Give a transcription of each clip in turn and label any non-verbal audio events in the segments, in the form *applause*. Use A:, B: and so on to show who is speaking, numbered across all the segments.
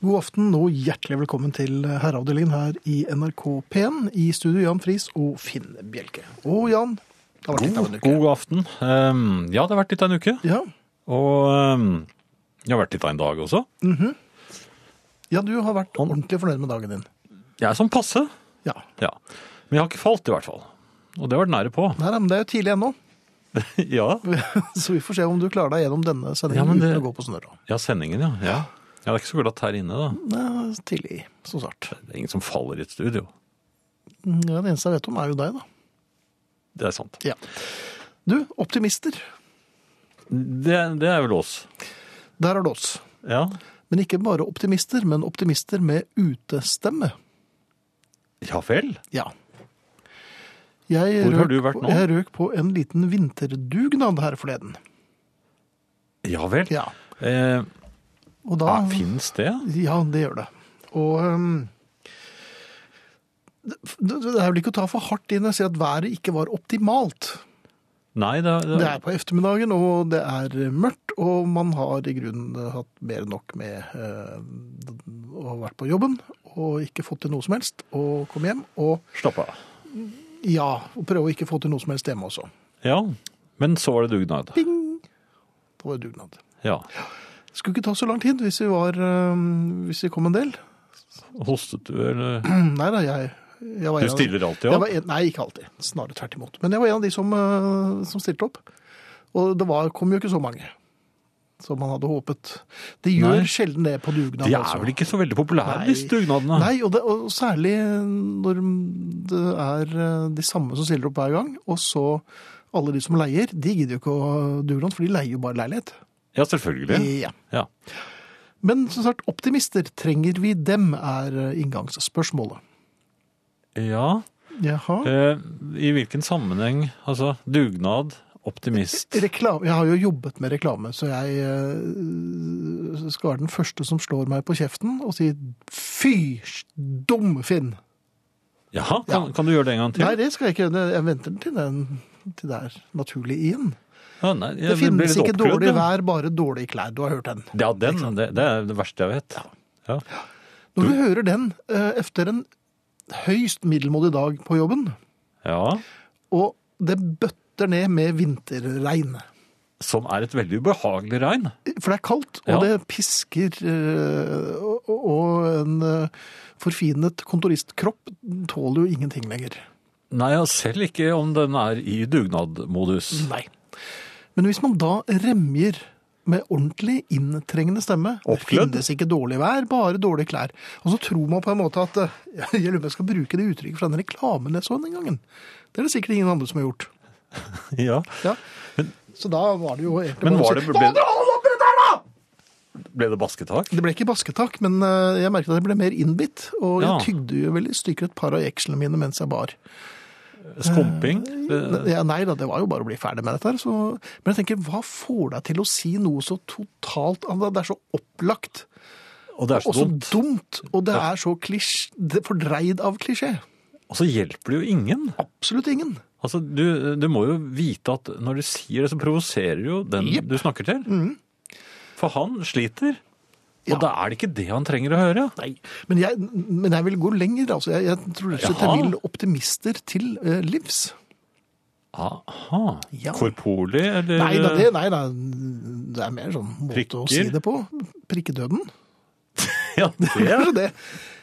A: God aften og hjertelig velkommen til herreavdelingen her i NRK P1. I studio Jan Friis og Finn Bjelke. Og Jan, det har vært litt av en uke.
B: God aften. Ehm, ja, det har vært litt av en uke.
A: Ja.
B: Og ehm, det har vært litt av en dag også.
A: ja, du har vært ordentlig fornøyd med dagen din.
B: Jeg er sånn passe.
A: Ja.
B: Ja. Men jeg har ikke falt, i hvert fall. Og det har vært nære på.
A: Nei, nei, men det er jo tidlig ennå,
B: *laughs*
A: *laughs*
B: ja.
A: så vi får se om du klarer deg gjennom denne
B: Ja,
A: sendingen
B: men det-
A: uten å gå på snørra.
B: ja, sendingen, ja. ja. Ja, Det er ikke så glatt her inne, da.
A: Nei, Tidlig, så snart.
B: Det er ingen som faller i et studio.
A: Ja, det eneste jeg vet om, er jo deg, da.
B: Det er sant.
A: Ja. Du, optimister.
B: Det, det er vel oss.
A: Der er det oss.
B: Ja.
A: Men ikke bare optimister, men optimister med utestemme.
B: Ja vel.
A: Ja. Jeg
B: Hvor har
A: røk
B: du vært
A: på-
B: nå?
A: Jeg røk på en liten vinterdugnad her forleden.
B: Ja vel.
A: Ja.
B: Eh,
A: Og
B: ja,
A: da
B: Fins det?
A: Ja, det gjør det. Og um, det, det er vel ikke å ta for hardt inn å si at været ikke var optimalt.
B: Nei, det,
A: Det er på ettermiddagen, og det er mørkt, og man har i grunnen hatt mer enn nok med eh, å ha vært på jobben og ikke fått til noe som helst, og kom hjem. Og
B: Slapp av.
A: ja, og prøve å ikke få til noe som helst hjemme også.
B: Ja. Men så var det dugnad.
A: Det var dugnad.
B: Ja.
A: Det skulle ikke ta så lang tid hvis vi, var, øhm, hvis vi kom en del. Mm,
B: Hostet du, eller?
A: Nei da, jeg, jeg var
B: Du
A: en av-
B: stiller alltid
A: Jeg var
B: opp?
A: en, nei, ikke alltid. Snarere tvert imot. Men jeg var en av de som, øh, som stilte opp. Og det var, kom jo ikke så mange som man hadde håpet. De gjør
B: Nei.
A: sjelden det på dugnad.
B: De
A: altså.
B: er vel ikke så veldig populære,
A: Nei.
B: disse dugnadene?
A: Nei, og, det, og særlig når det er øh, de samme som stiller opp hver gang, og så alle de som leier, de gidder jo ikke å dugnad, for de leier jo bare leilighet.
B: Ja, selvfølgelig.
A: Ja.
B: Ja.
A: Men som sagt, optimister trenger vi dem, er eh, inngangsspørsmålet.
B: ja.
A: Jaha.
B: Eh, I hvilken sammenheng? Altså, dugnad, optimist.
A: Reklam, jeg har jo jobbet med reklame, så jeg eh, skal være den første som slår meg på kjeften og sier fy, dum Finn.
B: Jaha, kan, kan du gjøre det en gang til?
A: Nei, det skal jeg ikke gjøre. Jeg venter til, den, til det er naturlig igjen.
B: ja, nei
A: Det
B: jeg blir
A: finnes
B: litt
A: ikke
B: oppglødd,
A: dårlig
B: ja.
A: vær, bare dårlige klær. Du har hørt den.
B: Ja, den, det, det er det verste jeg vet. Ja.
A: Når du hører den eh, efter en høyst middelmådig dag på jobben,
B: ja.
A: og det bøtter ned med vinterregn.
B: Som er et veldig ubehagelig regn.
A: For det er kaldt, og
B: Ja.
A: det pisker eh, og- og, og en eh, forfinet kontoristkropp tåler jo ingenting lenger.
B: Nei, ja, selv ikke om den er i dugnadmodus.
A: *laughs* Nei. Men hvis man da remjer med ordentlig inntrengende stemme
B: Oppglødd?
A: Det finnes ikke dårlig vær, bare dårlige klær. Og så tror man på en måte at eh, *laughs* Jeg lurer på om jeg skal bruke det uttrykket fra den reklamen jeg så den gangen. Det er det sikkert ingen andre som har gjort.
B: Ja.
A: Ja. Så da var det jo egentlig
B: Men
A: bare å
B: var
A: si,
B: det ble, ble det basketak?
A: Det ble ikke basketak, men eh, jeg merket at jeg ble mer innbitt. Og
B: Ja.
A: jeg tygde jo veldig stykker et par av jekslene mine mens jeg bar.
B: Skumping? Det-
A: Ja, nei da, det var jo bare å bli ferdig med dette her. Så... Men jeg tenker, hva får deg til å si noe så totalt annet? Det er så opplagt
B: Og det er så
A: og så
B: dumt.
A: dumt, og det er så klisj... det er fordreid av klisjé.
B: Og så hjelper det jo ingen.
A: Absolutt ingen.
B: Altså, du, du må jo vite at når du sier det, så provoserer jo den
A: Jepp.
B: du snakker til. For han sliter.
A: Mm. Ja.
B: Og da er det ikke det han trenger å høre.
A: Nei. Men jeg, men jeg vil gå lenger. altså. Jeg, jeg tror rett og slett jeg
B: Jaha.
A: vil optimister til eh, livs.
B: Aha.
A: Ja.
B: Korporlig, eller
A: Nei da, det, nei, da, det er mer sånn måte å si
B: eh, Prikker?
A: det på. Prikkedøden.
B: *laughs* Ja, det
A: Kanskje det.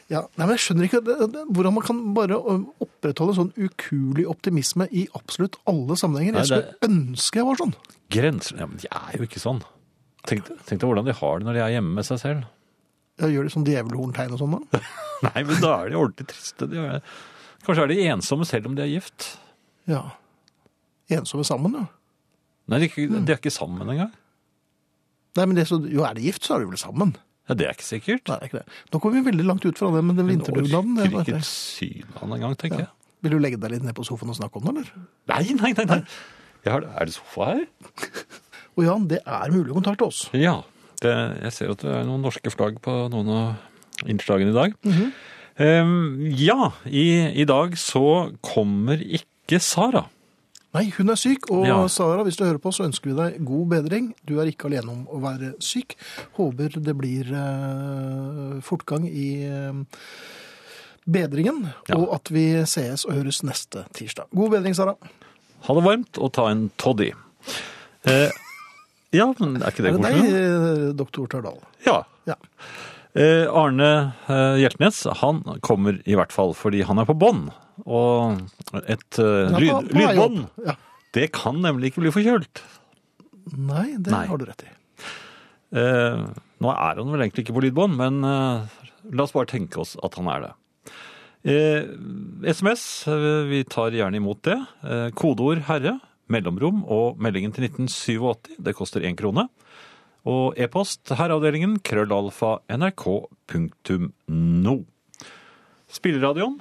A: Ja, nei, men jeg skjønner ikke det- det- hvordan man kan bare ø, opprettholde sånn ukuelig optimisme i absolutt alle sammenhenger.
B: Nei,
A: Jeg skulle ønske jeg var sånn.
B: Grenser Ja, men de er jo ikke sånn. Tenk, tenk deg hvordan de har det når de er hjemme med seg selv. *laughs*
A: Jeg gjør de sånn djevelhorntegn og sånn da?
B: Nei, men da er de ordentlig triste. De er, kanskje er de ensomme selv om de er gift.
A: Ja. Ensomme sammen, jo.
B: Nei, de, er ikke- de er ikke sammen engang.
A: Nei, men det, er så, jo, er de gift, så er de vel sammen.
B: Ja, det er ikke sikkert.
A: Nei, det er ikke det. Nå kommer vi veldig langt ut fra det med den vinterdugnaden.
B: Orker
A: det var-
B: ikke syne han engang, tenker jeg.
A: Vil du legge deg litt ned på sofaen og snakke om det, eller?
B: Nei, nei, nei. nei. Jeg har, er det sofa her?
A: Og Jan, det er mulig å kontakte oss.
B: Ja. Det, jeg ser at det er noen norske flagg på noen av innslagene i dag.
A: Mhm.
B: Ehm, ja, i, i dag så kommer ikke Sara.
A: Nei, hun er syk, og
B: Ja.
A: Sara, hvis du hører på, så ønsker vi deg god bedring. Du er ikke alene om å være syk. Håper det blir eh, fortgang i eh, bedringen,
B: Ja.
A: og at vi sees og høres neste tirsdag. God bedring, Sara.
B: Ha det varmt, og ta en toddy. Eh, ja, men er ikke det
A: Er det
B: koselig?
A: deg, eh, doktor Tørdal?
B: Ja.
A: Ja.
B: Eh, Arne eh, Hjeltnes han kommer i hvert fall fordi han er på bånd. Og et eh,
A: Den er på-
B: lyd,
A: på vei
B: lydbånd,
A: opp. Ja.
B: det kan nemlig ikke bli forkjølt.
A: Nei, det
B: Nei.
A: har du rett i.
B: Eh, nå er han vel egentlig ikke på lydbånd, men eh, la oss bare tenke oss at han er det. Eh, SMS, eh, vi tar gjerne imot det. Eh, kodeord 'herre', mellomrom og meldingen til 1987. Det koster én krone. Og e-post herreavdelingen krøllalfa nrk.no. Spilleradioen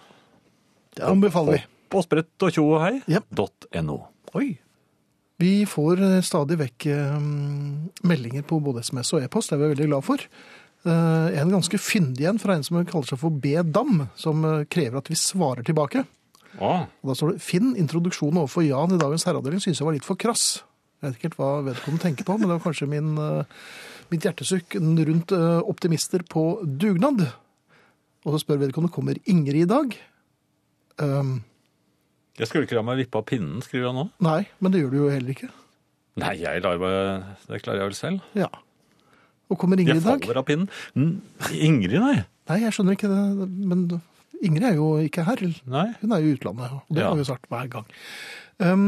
A: Det anbefaler vi.
B: på sprett og tjo og hei
A: Jep.
B: dot .no. Oi.
A: Vi får eh, stadig vekk eh, meldinger på både SMS og e-post, det er vi veldig glad for. Eh, en ganske fyndig en fra en som kaller seg for B. Dam, som eh, krever at vi svarer tilbake.
B: Ah.
A: Og da står det Finn, introduksjonen overfor Jan i dagens herreavdeling synes jeg var litt for krass. Jeg vet ikke helt hva vedkommende tenker på, men det var kanskje min, eh, mitt hjertesukk rundt eh, optimister på dugnad. Og så spør vedkommende kommer Ingrid i dag. Ehm,
B: Jeg skulle ikke la meg vippe av pinnen, skriver han nå.
A: nei, men det gjør du jo heller ikke.
B: Nei, jeg lar meg, det klarer jeg vel selv.
A: Ja. Og kommer
B: Jeg
A: Ingrid i dag?
B: faller av pinnen. Mm, Ingrid, nei.
A: Nei, jeg skjønner ikke det. Men Ingrid er jo ikke her.
B: Nei.
A: Hun er jo i utlandet, og det
B: Ja.
A: har vi jo sagt hver gang. Um,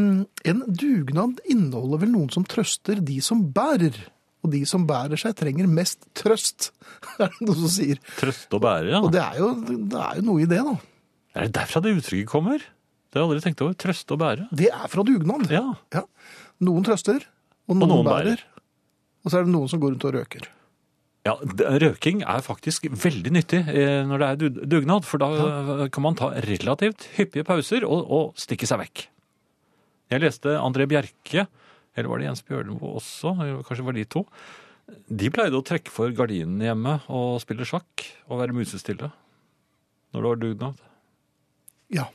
A: en dugnad inneholder vel noen som trøster de som bærer. Og de som bærer seg, trenger mest trøst, *laughs* er det noen som sier.
B: Trøste og bære, ja.
A: Og
B: Det...
A: det er jo, det er jo noe i det, da.
B: Er det derfra det uttrykket kommer? Det har jeg aldri tenkt over. Trøste og bære.
A: Det er fra dugnad.
B: Ja.
A: Ja. Noen trøster, og noen,
B: noen bærer.
A: bærer. Og så er det noen som går rundt og røker.
B: ja det- røking er faktisk veldig nyttig eh, når det er du- dugnad, for da eh, kan man ta relativt hyppige pauser og, og stikke seg vekk. Jeg leste André Bjerke, eller var det Jens Bjørneboe også, eller kanskje det var de to. De pleide å trekke for gardinene hjemme og spille sjakk og være musestille når det var dugnad.
A: Ja.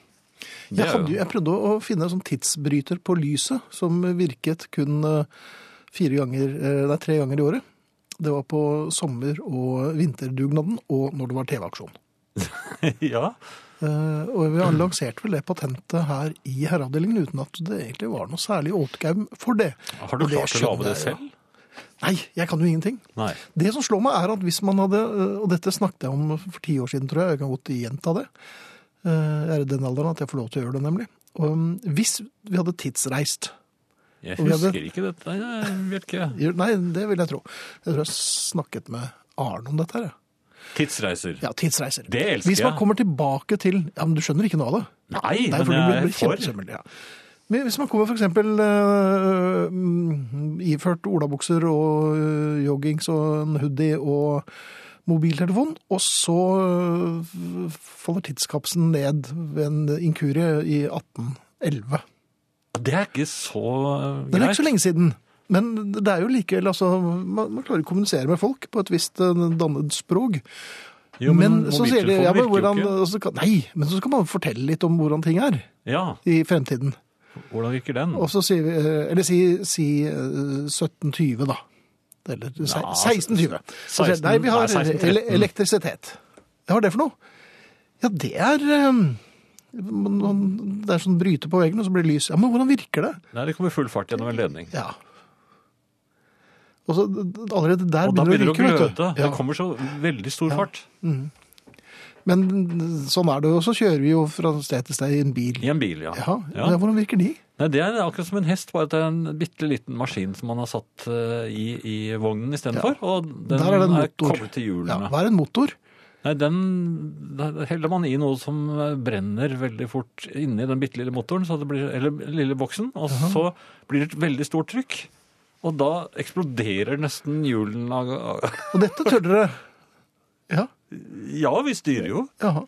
B: Det
A: Jeg,
B: er
A: hadde,
B: jo-
A: jo- jeg prøvde å finne en sånn tidsbryter på lyset, som virket kun eh, fire ganger, eh, nei, tre ganger i året. Det var på sommer- og vinterdugnaden, og når det var TV-aksjon.
B: *laughs* ja.
A: Eh, Og vi
B: *clears throat*
A: har lansert vel det patentet her i herreavdelingen, uten at det egentlig var noe særlig åtgaum for det.
B: Har du
A: Og det
B: klart å lage
A: skjønner
B: det
A: jeg, ja.
B: selv?
A: Nei, jeg kan jo ingenting.
B: Nei.
A: Det som slår meg er at hvis man hadde, eh, og dette snakket jeg om for ti år siden, tror jeg, jeg kan godt gjenta det, Eh, jeg er i den alderen at jeg får lov til å gjøre det nemlig, Og, um, hvis vi hadde tidsreist,
B: Jeg
A: Og vi
B: husker
A: hadde-
B: ikke dette. Jeg vet ikke.
A: nei, det vil jeg tro, jeg tror jeg snakket med Arne om dette her, jeg.
B: Tidsreiser.
A: ja, tidsreiser.
B: Det elsker
A: Hvis man
B: jeg.
A: kommer tilbake til, ja, men du skjønner ikke noe av det.
B: Nei,
A: Nei, for
B: men
A: du
B: jeg
A: blir,
B: er
A: blir
B: for.
A: kjempesømmelig, ja. Men hvis man kommer for eksempel øh, mm, iført olabukser og øh, joggings og en hoodie og mobiltelefon, og så øh, faller tidskapsen ned ved en inkurie i 1811.
B: Det er ikke så eh,
A: Den er
B: greit.
A: ikke så lenge siden. Men det er jo likevel, altså, man, man klarer å kommunisere med folk på et visst øh, dannet språk.
B: Jo,
A: men, så sier de,
B: mobiltelefonen
A: ja, men
B: virker jo
A: hvordan,
B: ikke.
A: og så kan, nei, men så skal man fortelle litt om hvordan ting er
B: Ja,
A: i fremtiden.
B: hvordan virker den?
A: Og så sier vi eh, Eller si, si eh, 1720, da. Eller se-
B: Ja,
A: 1620. Så sier jeg,
B: 16,
A: Nei, vi har
B: nei, 1613.
A: ele elektrisitet. Ja, Hva er det for noe? Ja, det er eh, man- man- Det er sånn bryte på veggen, og så blir det lys. Ja, Men hvordan virker det?
B: Nei, det kommer full fart gjennom en ledning.
A: Ja. Og så d- d- Allerede der
B: Og da
A: begynner det å
B: begynner det å
A: ryke,
B: gløde.
A: vet du.
B: Det
A: Ja.
B: kommer så veldig stor fart.
A: Men sånn er det jo. Og så kjører vi jo fra sted til sted i en bil.
B: I en bil, ja.
A: Ja,
B: Ja.
A: ja. Hvordan virker de?
B: Nei, det er akkurat som en hest, bare at det er en bitte liten maskin som man har satt eh, i, i vognen istedenfor. Og den
A: Der er
B: er,
A: det en motor.
B: koblet til
A: Ja,
B: hjulene.
A: hva er en motor?
B: Nei, den der heller man i noe som brenner veldig fort inni den bitte lille motoren, så det blir, eller lille boksen, og så blir det et veldig stort trykk. Og da eksploderer nesten hjulen av
A: Og dette tør dere. Ja.
B: *laughs* Ja, vi styrer jo.
A: Ja.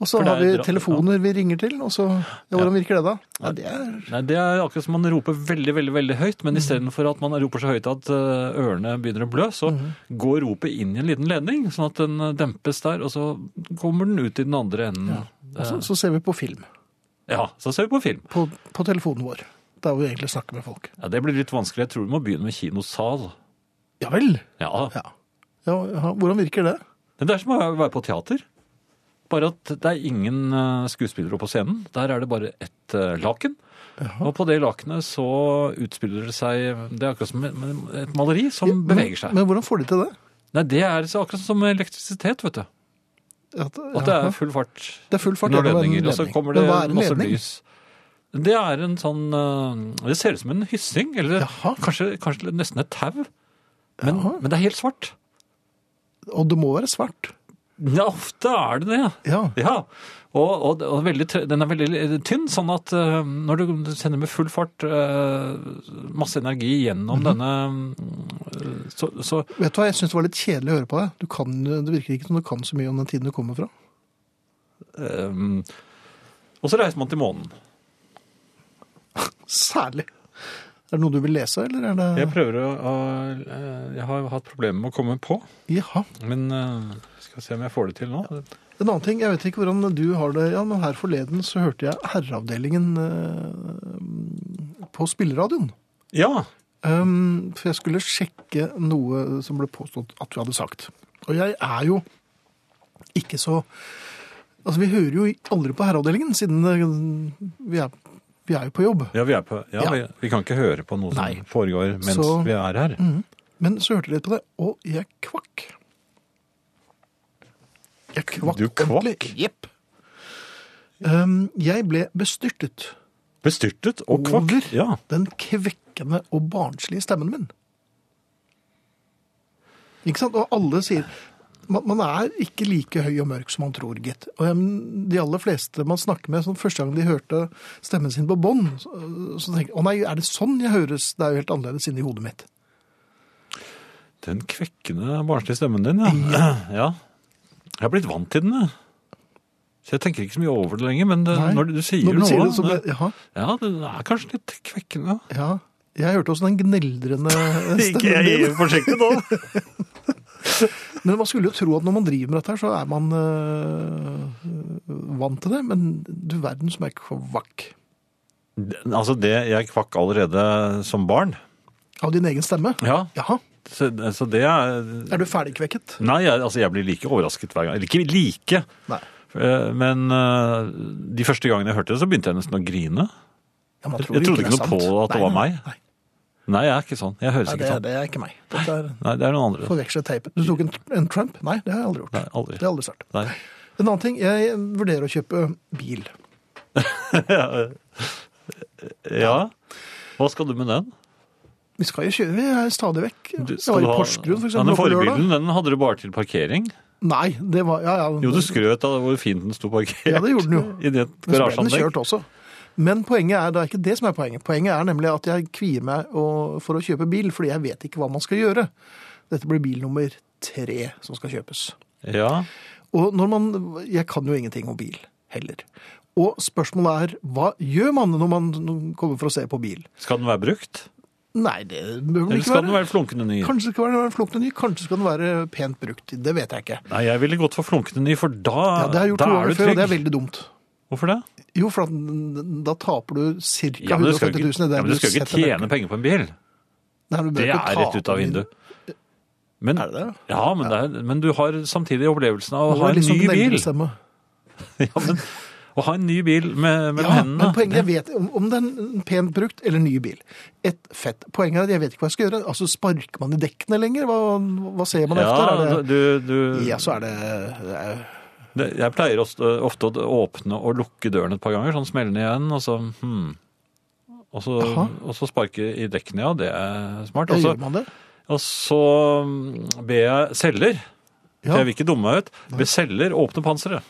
A: Og så
B: For det
A: har
B: er
A: vi
B: dra-
A: telefoner vi ringer til, og så ja, Hvordan virker det da? Ja, det er
B: Nei, Det er akkurat som man roper veldig veldig, veldig høyt, men istedenfor at man roper så høyt at eh, ørene begynner å blø, så går ropet inn i en liten ledning, sånn at den eh, dempes der, og så kommer den ut i den andre enden.
A: altså, og så, så ser vi på film.
B: Ja, så ser vi på film.
A: på, på telefonen vår. Der vi egentlig snakker med folk.
B: Ja, Det blir litt vanskelig. Jeg tror vi må begynne med kinosal.
A: Ja vel?
B: Ja,
A: Ja. ja, ja. Hvordan virker det?
B: Men Det er som å være på teater. Bare at det er ingen eh, skuespillere på scenen. Der er det bare ett eh, laken. Og på det lakenet så utspiller det seg Det er akkurat som et- et maleri som
A: Ja, men-
B: beveger seg.
A: Men hvordan får de til det?
B: Nei, Det er så akkurat som elektrisitet, vet du.
A: At,
B: At det
A: ja,
B: er full fart
A: det er full fart
B: når
A: gjennom en
B: ledninger, og så
A: ledning.
B: kommer
A: Men
B: det
A: hva er en
B: masse
A: ledning?
B: lys. Det er en sånn eh, Det ser ut som en hyssing, eller
A: Jaha.
B: kanskje, kanskje nesten et tau. Men, men det er helt svart.
A: Og det må være svart.
B: Ja, ofte er det det.
A: Ja.
B: Ja, og, og, og veldig, tø- den er veldig tynn, sånn at eh, når du sender med full fart eh, masse energi gjennom
A: Mhm.
B: denne mm, så, så
A: Vet du hva, jeg syns det var litt kjedelig å høre på deg. Du kan, det virker ikke som du kan så mye om den tiden du kommer fra.
B: eh, Og så reiser man til månen.
A: Særlig. Er det noe du vil lese, eller er det
B: Jeg prøver å, å eh, Jeg har jo hatt problemer med å komme på,
A: Jaha.
B: men eh, skal se om jeg får det til nå.
A: En annen ting, jeg vet ikke hvordan du har det, Jan, men her forleden så hørte jeg herreavdelingen eh, på spilleradioen.
B: Ja.
A: Um, for jeg skulle sjekke noe som ble påstått at du hadde sagt. Og jeg er jo ikke så Altså, vi hører jo aldri på herreavdelingen, siden eh, vi er, vi er jo på jobb.
B: ja, vi, er på, ja,
A: Ja.
B: Vi, vi kan ikke høre på noe som
A: Nei.
B: foregår mens
A: Så- Mm.
B: vi er her.
A: Men så hørte jeg litt på det, og jeg kvakk. Jeg kvakk
B: Du kvakk?
A: ordentlig. Jepp. Um, jeg ble bestyrtet
B: Bestyrtet og kvakk.
A: over
B: Ja.
A: den kvekkende og barnslige stemmen min. Ikke sant? Og alle sier man, man er ikke like høy og mørk som man tror, gitt. Og em, de aller fleste man snakker med, sånn første gang de hørte stemmen sin på bånd, så, så tenker jeg å nei, er det sånn jeg høres? Det er jo helt annerledes inni hodet mitt.
B: Den kvekkende barnslige stemmen din, ja. *clears throat* ja. Jeg har blitt vant til den, jeg. Så jeg tenker ikke så mye over det lenger, men det,
A: Nei.
B: når du sier
A: Når du
B: noe
A: sier det, så ble,
B: det,
A: ja,
B: Ja, det er kanskje litt
A: *laughs*
B: kvekkende.
A: ja. Jeg hørte også den
B: *laughs*
A: gneldrende stemmen din. *laughs*
B: forsiktig nå.
A: Men man skulle jo tro at når man driver med dette her, så er man øh, øh, vant til det. Men du verden som er kvakk.
B: altså, det jeg kvakk allerede som barn.
A: Av din egen stemme?
B: Ja,
A: Jaha.
B: så, så det er
A: Er du ferdigkvekket?
B: Nei, jeg, altså, jeg blir like overrasket hver gang. Eller ikke like,
A: Nei.
B: eh, men eh, de første gangene jeg hørte det, så begynte jeg nesten å grine.
A: Ja, man
B: Jeg
A: jo
B: trodde
A: det
B: ikke
A: er
B: noe
A: sant.
B: på at det
A: Nei,
B: var
A: nei,
B: meg.
A: Nei,
B: Nei, jeg er ikke sånn. Jeg høres
A: nei det,
B: ikke
A: er-
B: sånn.
A: det er ikke meg. Dette er
B: Nei, det er noen andre.
A: forvekslet teip. Du tok en, en Trump? Nei, det har jeg aldri gjort.
B: Nei,
A: Det
B: aldri.
A: har jeg aldri sagt.
B: Nei.
A: En annen ting, jeg vurderer å kjøpe bil.
B: Ja. Hva skal du med den?
A: Vi skal jo kjøre, vi er stadig vekk.
B: Du,
A: Jeg
B: skal
A: var
B: du
A: i
B: ha-
A: Porsgrunn, for
B: Ja,
A: eksempel.
B: den
A: nå på lørdag.
B: forbilden den hadde du bare til parkering.
A: Nei, det var Ja, ja.
B: Jo, du skrøt av hvor fint den sto parkert.
A: Mm. Ja, det gjorde den jo.
B: *laughs* I det
A: Men så ble den
B: garasjeanlegg.
A: kjørt også. Men poenget er, det er ikke det som er poenget. Poenget er nemlig at jeg kvier meg å- for å kjøpe bil, fordi jeg vet ikke hva man skal gjøre. Dette blir bil nummer tre som skal kjøpes.
B: Ja.
A: Og når man, jeg kan jo ingenting om bil heller. Og spørsmålet er, hva gjør man når man kommer for å se på bil?
B: Skal den være brukt?
A: Nei, det bør vel
B: Eller
A: ikke
B: skal den
A: være.
B: være flunkende ny?
A: Kanskje skal den være flunkende ny, kanskje skal den være pent brukt. Det vet jeg ikke.
B: Nei, jeg ville gått for flunkende ny, for
A: Ja,
B: da,
A: det har jeg gjort
B: da
A: noen
B: er du
A: ganger før, og det er
B: trygg.
A: veldig dumt.
B: Hvorfor det?
A: Jo, for da, da taper du
B: Ja,
A: ca.
B: men du skal
A: 150 000 i
B: jo ikke,
A: det
B: ja, men du skal jo ikke
A: setter nøkkelen.
B: tjene penger på en bil.
A: Nei, du bør
B: Det
A: ikke
B: er
A: ta
B: rett ut av
A: den inn.
B: vinduet. Men,
A: Er det det?
B: Ja, men, det er, men du har samtidig opplevelsen av å
A: Det
B: ha
A: var
B: en
A: litt sånn
B: ny bil.
A: gneldrestemme.
B: *laughs* Ja, men, å ha en ny bil med, mellom
A: Ja,
B: hendene.
A: men poenget jeg vet om, om det er en pent brukt eller ny bil. Et fett. Poenget er at jeg vet ikke hva jeg skal gjøre. Altså, Sparker man i dekkene lenger? Hva, hva ser man etter?
B: ja, altså,
A: Er det,
B: du, du,
A: ja, så er det eh,
B: Det, jeg pleier ofte, ofte å åpne og lukke døren et par ganger, sånn smellende igjen, og så hmm. Og så,
A: Jaha.
B: og så sparke i dekkene, ja. Det er smart.
A: Da
B: Og så,
A: gjør man det.
B: og så mm, ber jeg selger, for
A: Ja.
B: jeg vil ikke dumme meg ut, be selger åpne panseret.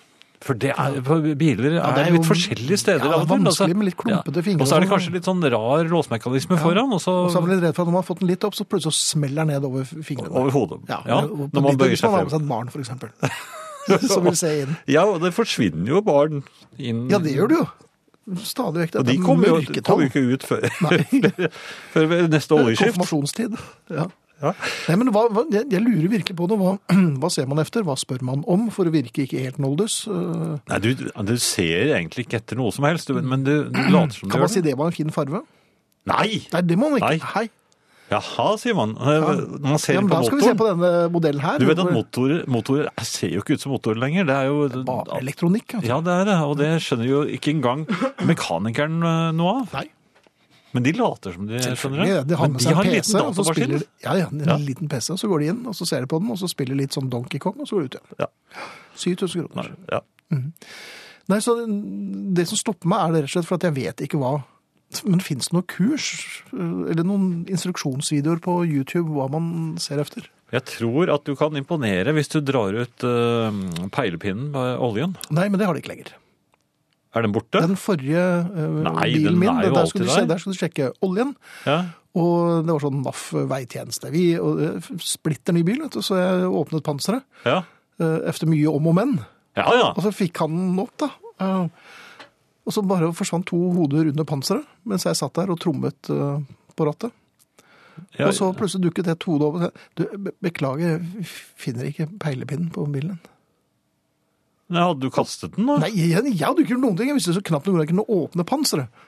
B: For det er, på biler er,
A: det er
B: litt
A: jo-
B: forskjellige steder.
A: Ja, det er
B: av og til, altså.
A: vanskelig med litt klumpete fingre
B: Og så er
A: og
B: det
A: sånn.
B: kanskje litt sånn rar låsmekanisme foran, og så
A: Og så er man litt redd for at når man har fått den litt opp, så plutselig så smeller den ned over fingrene.
B: over hodet.
A: ja,
B: Ja,
A: og på
B: når man
A: bilen
B: bøyer
A: hvis
B: seg
A: man har med
B: frem.
A: seg et barn, for
B: *laughs*
A: eksempel. Som vil se inn.
B: Ja, og det forsvinner jo barn inn.
A: Ja, det gjør det jo. Stadig vekk.
B: Og de
A: Dette
B: kommer jo,
A: mørketall.
B: kommer jo ikke ut *laughs* før,
A: Nei.
B: før neste oljeskift.
A: Konfirmasjonstid. Ja. Nei, men hva, hva, jeg, jeg lurer virkelig på det. Hva, *clears throat* hva ser man etter? Hva spør man om for å virke ikke helt noldus? Eh,
B: Nei, du, du ser egentlig ikke etter noe som helst, du, men du, du later som du
A: Kan man
B: gjør
A: si
B: det.
A: det var en fin farve?
B: Nei!
A: Nei, det må man ikke.
B: Nei.
A: Hei.
B: Jaha, sier man. Når man ser
A: Ja, men
B: på
A: da skal vi se
B: motoren.
A: på denne modellen her.
B: Du vet at motorer, motorer ser jo ikke ut som motorer lenger. Det er jo
A: Bare elektronikk. altså.
B: Ja, det er det. Og det skjønner jo ikke engang mekanikeren eh, noe av.
A: Nei.
B: Men de later som de skjønner det.
A: Selvfølgelig, De har
B: Men
A: med
B: de
A: seg
B: har
A: en
B: en
A: PC,
B: liten
A: og så
B: datamaskin.
A: spiller ja, ja, en
B: Ja.
A: liten PC, og så går de inn, og så ser de på den, og så spiller de litt sånn Donkey Kong, og så går de ut igjen.
B: Ja.
A: 7000
B: Nei,
A: kroner. Nei.
B: ja.
A: så det som stopper meg, er det rett og slett for at jeg vet ikke hva Men fins det noen kurs, eller noen instruksjonsvideoer på YouTube, hva man ser efter?
B: Jeg tror at du kan imponere hvis du drar ut eh, peilepinnen med oljen.
A: Nei, men det har de ikke lenger.
B: Er den borte?
A: Den forrige eh,
B: Nei,
A: bilen
B: den
A: min,
B: er jo
A: der, skulle du,
B: alltid
A: se-
B: der.
A: der skulle du sjekke oljen.
B: Ja.
A: Og det var sånn NAF veitjeneste. Vi og, eh, splitter ny bil, vet du, så jeg åpnet panseret.
B: Ja.
A: eh, Efter mye om og men.
B: Ja, ja.
A: Og så fikk han den opp, da. Eh, Og så bare forsvant to hoder under panseret mens jeg satt der og trommet eh, på rattet.
B: ja.
A: Og så plutselig dukket et hode opp og sa du, be- beklager, jeg finner ikke peilepinnen på bilen.
B: Nei, Hadde du kastet den, da?
A: Nei, jeg, jeg hadde ikke gjort noen ting. Jeg visste så knapt hvordan jeg kunne åpne panseret.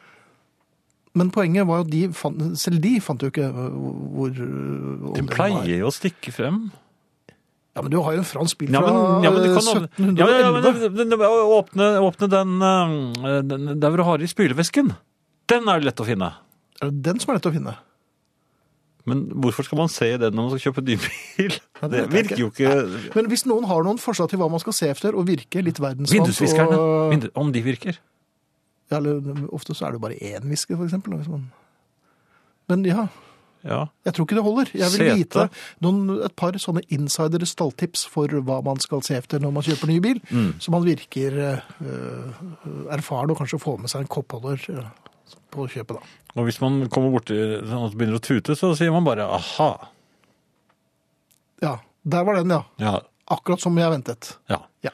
A: Men poenget var jo at de fant, selv de fant jo ikke øh, hvor øh, om
B: Den
A: det var.
B: pleier jo å stikke frem.
A: Ja, men du har jo en fransk bil
B: Ja,
A: fra
B: men, ja, men du kan
A: øh,
B: åpne,
A: 1711.
B: ja, ja, men, den- den- åpne, åpne den, eh, den der hvor du har i spylevæsken. Den er lett å finne.
A: Er det den som er lett å finne?
B: Men hvorfor skal man se den når man skal kjøpe ny *laughs* bil?
A: Ja, det vet
B: Det
A: jeg
B: virker jo ikke
A: Men hvis noen har noen forslag til hva man skal se efter og virke litt verdensvant
B: Vindusviskerne,
A: og-
B: vindu- om de virker.
A: Ja, eller øh, ofte så er det jo bare én hvisker, for eksempel. da, Hvis man... Men ja,
B: Ja.
A: jeg tror ikke det holder. Jeg vil
B: Sete.
A: vite noen, et par sånne insidere stalltips for hva man skal se etter når man kjøper ny bil,
B: Mm.
A: så man virker eh, erfaren og kanskje får med seg en koppholder eh, på kjøpet, da.
B: Og hvis man kommer borti sånn at det begynner å tute, så sier man bare aha.
A: Ja, der var den, ja.
B: Ja.
A: Akkurat som jeg ventet.
B: ja.
A: Ja.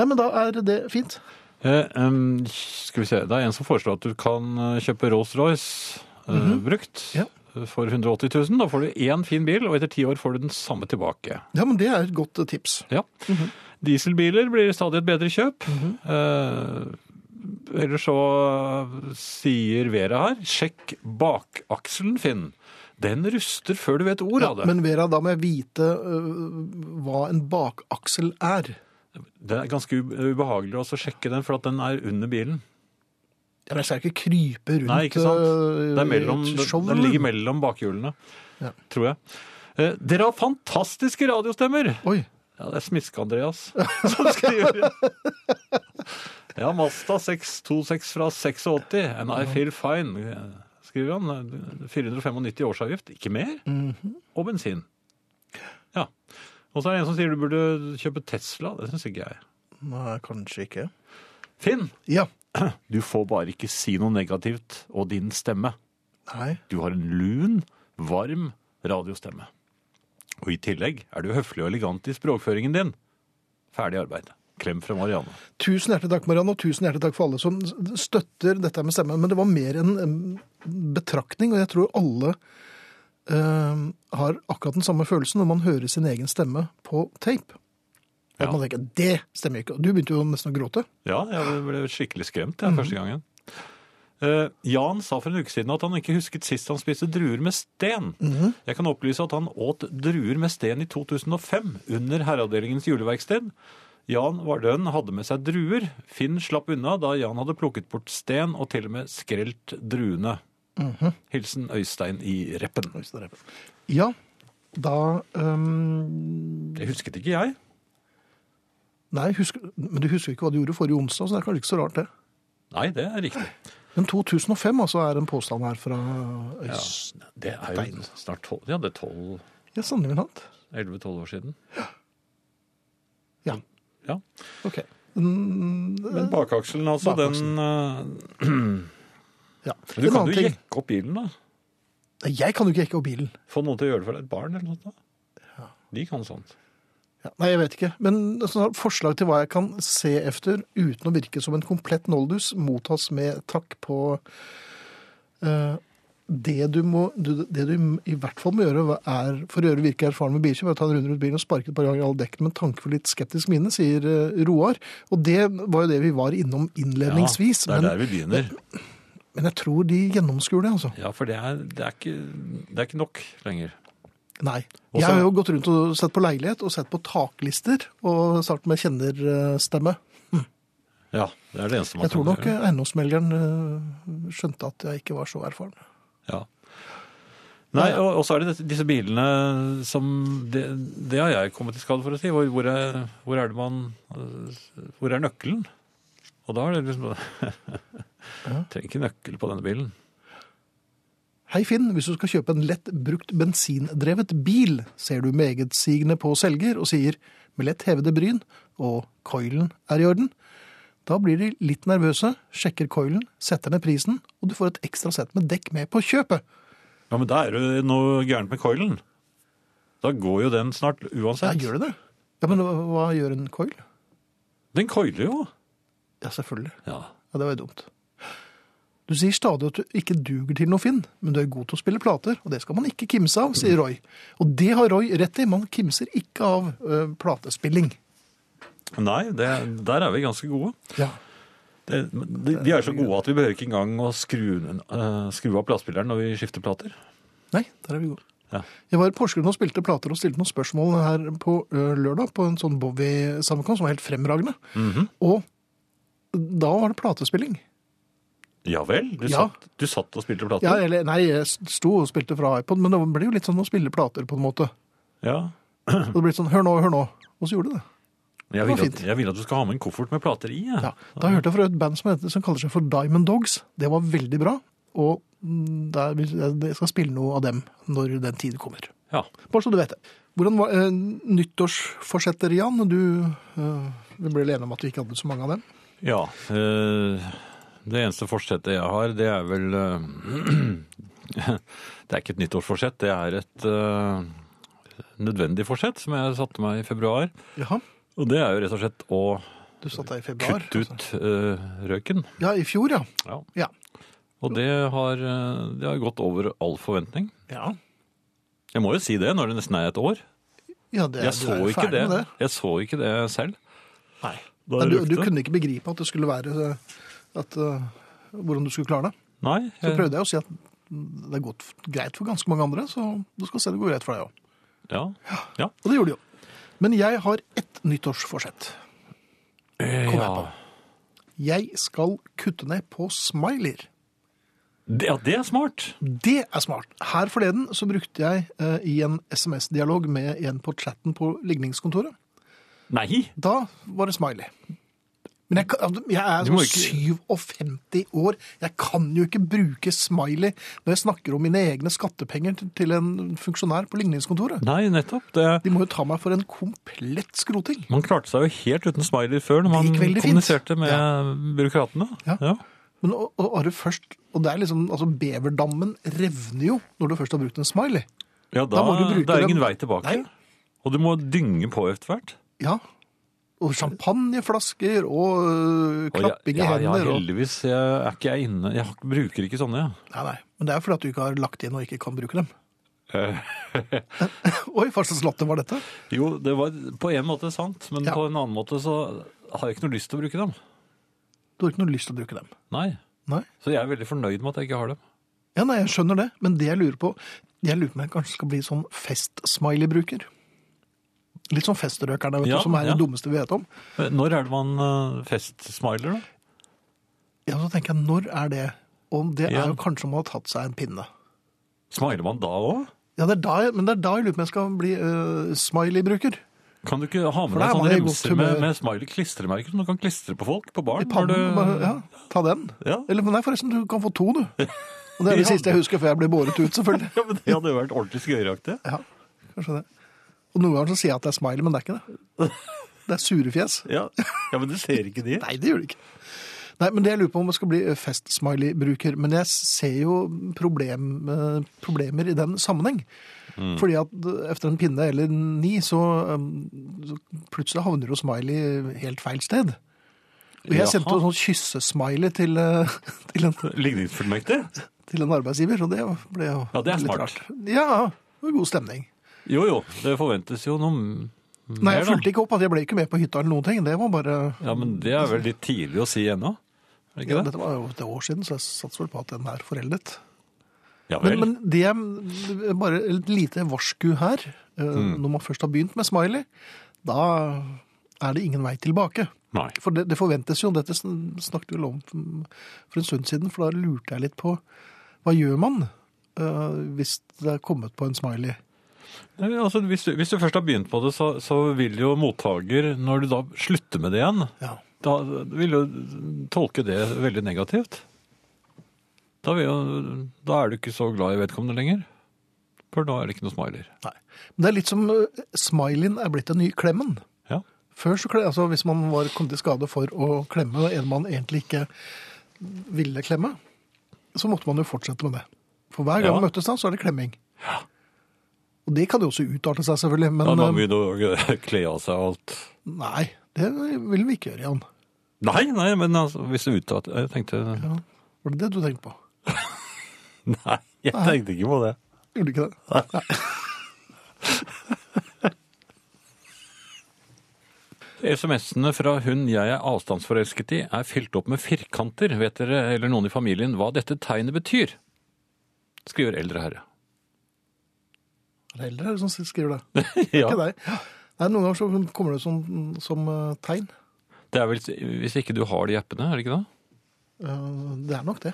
A: Nei, men da er det fint.
B: Eh, em, skal vi se, det er en som foreslår at du kan eh, kjøpe Rolls-Royce eh, brukt
A: Mhm. Ja.
B: eh, for 180 000. Da får du én fin bil, og etter ti år får du den samme tilbake.
A: Ja, men det er et godt eh, tips.
B: Ja. Dieselbiler blir stadig et bedre kjøp.
A: Mhm.
B: eh, ellers så eh, sier Vera her, sjekk bakakselen, Finn. Den ruster før du vet ordet av det.
A: Men Vera, da må jeg vite eh, hva en bakaksel er.
B: Det er ganske ube- ubehagelig også å sjekke den, for at den er under bilen.
A: Ja, men Jeg skal ikke krype rundt
B: Nei, ikke sant?
A: eh,
B: Det er mellom,
A: et skjold,
B: den
A: eller?
B: ligger mellom bakhjulene,
A: Ja.
B: tror jeg. Eh, Dere har fantastiske radiostemmer!
A: Oi.
B: Ja, det er Smiske-Andreas *laughs* som skriver. Ja, Mazda 626 fra 86, and I feel fine, skriver han. 495 årsavgift, ikke mer,
A: Mhm.
B: og bensin. Ja. Og så er det en som sier du burde kjøpe Tesla. Det syns ikke jeg.
A: Nei, kanskje ikke.
B: Finn,
A: Ja.
B: du får bare ikke si noe negativt og din stemme.
A: Nei.
B: Du har en lun, varm radiostemme. Og i tillegg er du høflig og elegant i språkføringen din. Ferdig arbeid. Klem fra Marianne.
A: Tusen hjertelig takk, Marianne, og tusen hjertelig takk for alle som støtter dette med stemmen. Men det var mer en em, betraktning, og jeg tror alle em, har akkurat den samme følelsen når man hører sin egen stemme på tape. At
B: Ja.
A: man tenker det stemmer ikke. Og du begynte jo nesten å gråte.
B: Ja, jeg ble skikkelig skremt jeg, første gangen. Eh, Jan sa for en uke siden at han ikke husket sist han spiste druer med sten. Jeg kan opplyse at han åt druer med sten i 2005 under Herreavdelingens juleverksted. Jan Vardøen hadde med seg druer. Finn slapp unna da Jan hadde plukket bort sten og til og med skrelt druene. Mhm. Hilsen Øystein i Reppen.
A: Ja, da em,
B: Det husket ikke jeg.
A: Nei, husker, men du husker ikke hva du gjorde forrige onsdag, så det er kanskje ikke så rart, det.
B: Nei, det er riktig.
A: Men 2005 altså er en påstand her fra Øystein.
B: Ja, det er jo snart tolv, ja, det er tolv,
A: Ja, sannelig min hatt.
B: 11-12 år siden.
A: Ja,
B: Ja.
A: ok. Mm,
B: Men bakakselen, altså,
A: Bakakselen.
B: den eh,
A: ja.
B: Du
A: En
B: kan
A: annen
B: jo
A: ting.
B: jekke opp bilen, da.
A: Nei, Jeg kan jo ikke jekke opp bilen.
B: Få noen til å gjøre det for deg. Et barn eller noe sånt. da. De kan sånt.
A: Ja. Nei, jeg vet ikke. Men sånn her forslag til hva jeg kan se efter uten å virke som en komplett noldus, mottas med takk på eh, Det du, må, du, det du i hvert fall må gjøre, er, for å gjøre virke erfaren med bilkjøp, er å ta en runde rundt bilen og sparke et par ganger i alle dekkene med tanke på litt skeptisk mine, sier eh, Roar. Og det var jo det vi var innom innledningsvis.
B: Ja, det er
A: men,
B: der vi begynner.
A: men jeg tror de gjennomskuer det, altså.
B: Ja, for det er, det er, ikke, det er ikke nok lenger.
A: Nei.
B: Og
A: Jeg
B: så-
A: har jo gått rundt og sett på leilighet og sett på taklister, og startet med kjennerstemme.
B: Ja, det er det eneste man
A: Jeg tror
B: kan
A: nok
B: gjøre.
A: eiendomsmelderen eh, skjønte at jeg ikke var så erfaren.
B: Ja. Nei, og, og så er det dette- disse bilene som Det, det har jeg kommet i skade for å si. Hvor, hvor, er, hvor er det man øh, Hvor er nøkkelen? Og da er det liksom *laughs* Trenger ikke nøkkel på denne bilen.
A: Hei Finn, hvis du skal kjøpe en lett brukt bensindrevet bil, ser du megetsigende på selger og sier med lett hevede bryn og coilen er i orden. Da blir de litt nervøse, sjekker coilen, setter ned prisen, og du får et ekstra sett med dekk med på kjøpet.
B: Ja, men da er det noe gærent med coilen. Da går jo den snart
A: Ja,
B: uansett.
A: gjør det det? Ja, men hva, hva gjør en coil?
B: Den coiler jo.
A: Ja, selvfølgelig.
B: Ja.
A: Ja, det var jo dumt. Du sier stadig at du ikke duger til noe, Finn, men du er god til å spille plater, og det skal man ikke kimse av, sier Roy. Og det har Roy rett i, man kimser ikke av ø, platespilling.
B: Nei, det, der er vi ganske gode.
A: Ja.
B: Det, men de, de er så gode at vi behøver ikke engang å skru, eh, skru av platespilleren når vi skifter plater.
A: Nei, der er vi gode.
B: Ja.
A: Jeg var i Porsgrunn og spilte plater og stilte noen spørsmål her på ø, lørdag på en sånn Bowie-sammenkomst som var helt fremragende. Og da var det platespilling.
B: Ja vel? Du,
A: Ja.
B: satt, du satt og spilte plater?
A: Ja, eller, nei, jeg sto og spilte fra iPod, men det ble jo litt sånn å spille plater på en måte.
B: Ja.
A: Og det ble sånn, hør nå, hør nå. Og så gjorde det det.
B: Jeg,
A: Det var
B: vil at,
A: fint.
B: jeg vil at du skal ha med en koffert med plater i. jeg.
A: Ja, da hørte jeg fra et band som, heter, som kaller seg for Diamond Dogs. Det var veldig bra, og mm, der, vil- jeg skal spille noe av dem når den tid kommer.
B: Ja.
A: Bare så du vet det. Hvordan var eh, nyttårsforsetter, Jan? Du eh, vi ble alene om at vi ikke hadde så mange av dem.
B: ja. eh, det eneste forsettet jeg har, det er vel eh, *clears throat* Det er ikke et nyttårsforsett, det er et eh, nødvendig forsett som jeg satte meg i februar.
A: Jaha,
B: Og det er jo rett og slett å
A: du satt der i februar. altså.
B: kutte ut eh, røyken.
A: Ja, i fjor, ja.
B: Ja.
A: Ja.
B: Og det har, eh, det har gått over all forventning.
A: Ja,
B: Jeg må jo si det når det nesten er et år.
A: det,
B: Jeg
A: du
B: så
A: er jo
B: ikke
A: ferdig
B: det.
A: med det.
B: Jeg så ikke det selv.
A: Nei.
B: Da
A: Men du,
B: røkte
A: du
B: det.
A: kunne ikke begripe at det skulle være eh, at, eh, hvordan du skulle klare det.
B: Nei,
A: Så
B: jeg,
A: prøvde jeg å si at det har gått greit for ganske mange andre, så du skal se det går greit for deg òg.
B: ja. Ja.
A: Og det gjorde de jo. Men jeg har ett nyttårsforsett. jeg
B: ja.
A: på. Jeg skal kutte ned på smileyer.
B: Det, ja, det er smart.
A: Det er smart. Her forleden så brukte jeg eh, i en SMS-dialog med en på chatten på ligningskontoret.
B: Nei.
A: Da var det smiley. Men jeg, kan- jeg er
B: Du må
A: sånn 57 år. Jeg kan jo ikke bruke smiley når jeg snakker om mine egne skattepenger til- til en funksjonær på ligningskontoret.
B: Nei, nettopp. Det,
A: De må jo ta meg for en komplett skroting.
B: man klarte seg jo helt uten smiley før når man
A: gikk veldig fint.
B: kommuniserte med byråkratene.
A: Ja. Men og, og, og, det først, og det er liksom, altså Beverdammen revner jo når du først har brukt en smiley.
B: Ja, da,
A: Da må du bruke
B: det er ingen
A: den-
B: vei tilbake.
A: Nei.
B: Og du må dynge på etter hvert.
A: Ja. Og champagneflasker og øh,
B: Og jeg,
A: klapping
B: ja,
A: i
B: ja,
A: hender. og...
B: heldigvis jeg, er ikke jeg inne. Jeg har- bruker ikke sånne, ja.
A: Nei, nei. Men det er fordi at du ikke har lagt inn og ikke kan
B: *laughs*
A: bruke dem. *laughs*
B: Eh,
A: Oi, hva slags latter var dette?
B: Jo, det var på en måte sant, men
A: Ja.
B: på en annen måte så har jeg ikke noe lyst til å bruke dem.
A: Du har ikke noe lyst til å bruke dem.
B: Nei.
A: Nei.
B: Så jeg er veldig fornøyd med at jeg ikke har dem.
A: Ja, nei, jeg skjønner det. Men det jeg lurer på Jeg lurer på om jeg kanskje skal bli sånn festsmiley-bruker. Litt sånn festrøkerne, vet
B: Ja,
A: du, som er
B: ja.
A: det dummeste vi vet om.
B: Men Når er det man eh, festsmiler, da?
A: Ja, så tenker jeg, når er det? Og det
B: Ja.
A: er jo kanskje om man har tatt seg en pinne.
B: Smiler man da òg?
A: Ja, det er da jeg, men det er da jeg lurer på om jeg skal bli øh, smiley-bruker.
B: Kan du ikke ha
A: For
B: med
A: da er
B: deg sånne
A: man i godt
B: remser med,
A: humør.
B: med smiley-klistremerker som du kan klistre på folk på
A: I
B: baren? når
A: pannen.
B: du-
A: bare, Ja, ta den.
B: Ja.
A: Eller men nei, forresten, du kan få to, du. Og det er det
B: *laughs* Ja.
A: siste jeg husker før jeg ble båret ut, selvfølgelig.
B: Ja, men Det hadde jo vært ordentlig skøyeraktig.
A: Ja, kanskje det. Og noen ganger så sier jeg at det er smiley, men det er ikke det.
B: *laughs*
A: Det er surefjes.
B: Ja. ja, men du ser ikke de.
A: Nei, det gjør det ikke. Nei, men det jeg lurer på om jeg skal bli eh, festsmiley-bruker, men jeg ser jo problem, eh, problemer i den sammenheng.
B: Mm.
A: Fordi at eh, efter en pinne eller ni, så, eh, så plutselig havner jo smiley helt feil sted. Og jeg
B: Jaha.
A: sendte jo sånn kyssesmiley til, eh, *laughs* til en
B: Ligningsfullmektig?
A: til en arbeidsgiver, og det ble jo
B: Ja, det er
A: litt
B: smart.
A: rart. Ja, det var god stemning.
B: Jo, jo, det forventes jo noe m-
A: Nei,
B: Mm. mer,
A: jeg
B: da.
A: fulgte ikke opp at jeg ble ikke med på hytta eller noen ting. Det var bare
B: Ja, men det er vel litt tidlig å si ennå? Er det
A: ja,
B: Ikke det?
A: Dette var jo et år siden, så jeg satser vel på at den er foreldet.
B: Ja
A: Men,
B: vel.
A: men det er bare et lite varsku her. eh,
B: Mm.
A: Når man først har begynt med smiley, da er det ingen vei tilbake.
B: Nei.
A: For det, det forventes jo, dette sn- snakket vi vel om for en stund siden, for da lurte jeg litt på hva gjør man eh, hvis det er kommet på en smiley?
B: Nei, men Altså, hvis, du, hvis du først har begynt på det, så, så vil jo mottaker, når du da slutter med det igjen,
A: Ja.
B: da vil jo tolke det veldig negativt. Da, vil jo, da er du ikke så glad i vedkommende lenger. For da er det ikke noe smiler.
A: Nei. Men det er litt som eh, smileyen er blitt den nye klemmen.
B: Ja.
A: Før så, kle- altså Hvis man var, kom til skade for å klemme en man egentlig ikke ville klemme, så måtte man jo fortsette med det. For hver gang
B: Ja.
A: man møttes da, så er det klemming. Og det kan jo også utarte seg, selvfølgelig. Men
B: Da må
A: eh,
B: vi da *laughs* kle av seg alt.
A: nei, det vil vi ikke gjøre, Jan.
B: Nei, nei, men altså, hvis du uttatt Jeg tenkte
A: Ja. Var det det du tenkte på?
B: *laughs* Nei, jeg tenkte ikke på det.
A: Gjorde du ikke det?
B: SMS-ene fra hun jeg er avstandsforelsket i, er fylt opp med firkanter. Vet dere eller noen i familien hva dette tegnet betyr? Skriver eldre herre.
A: Er det eldre som skriver det?
B: *laughs* Ja,
A: Ikke deg. Ja. Nei, Noen ganger så kommer det som, som eh, tegn.
B: det er vel hvis ikke du har de appene, er det ikke det?
A: Eh, Det er nok det.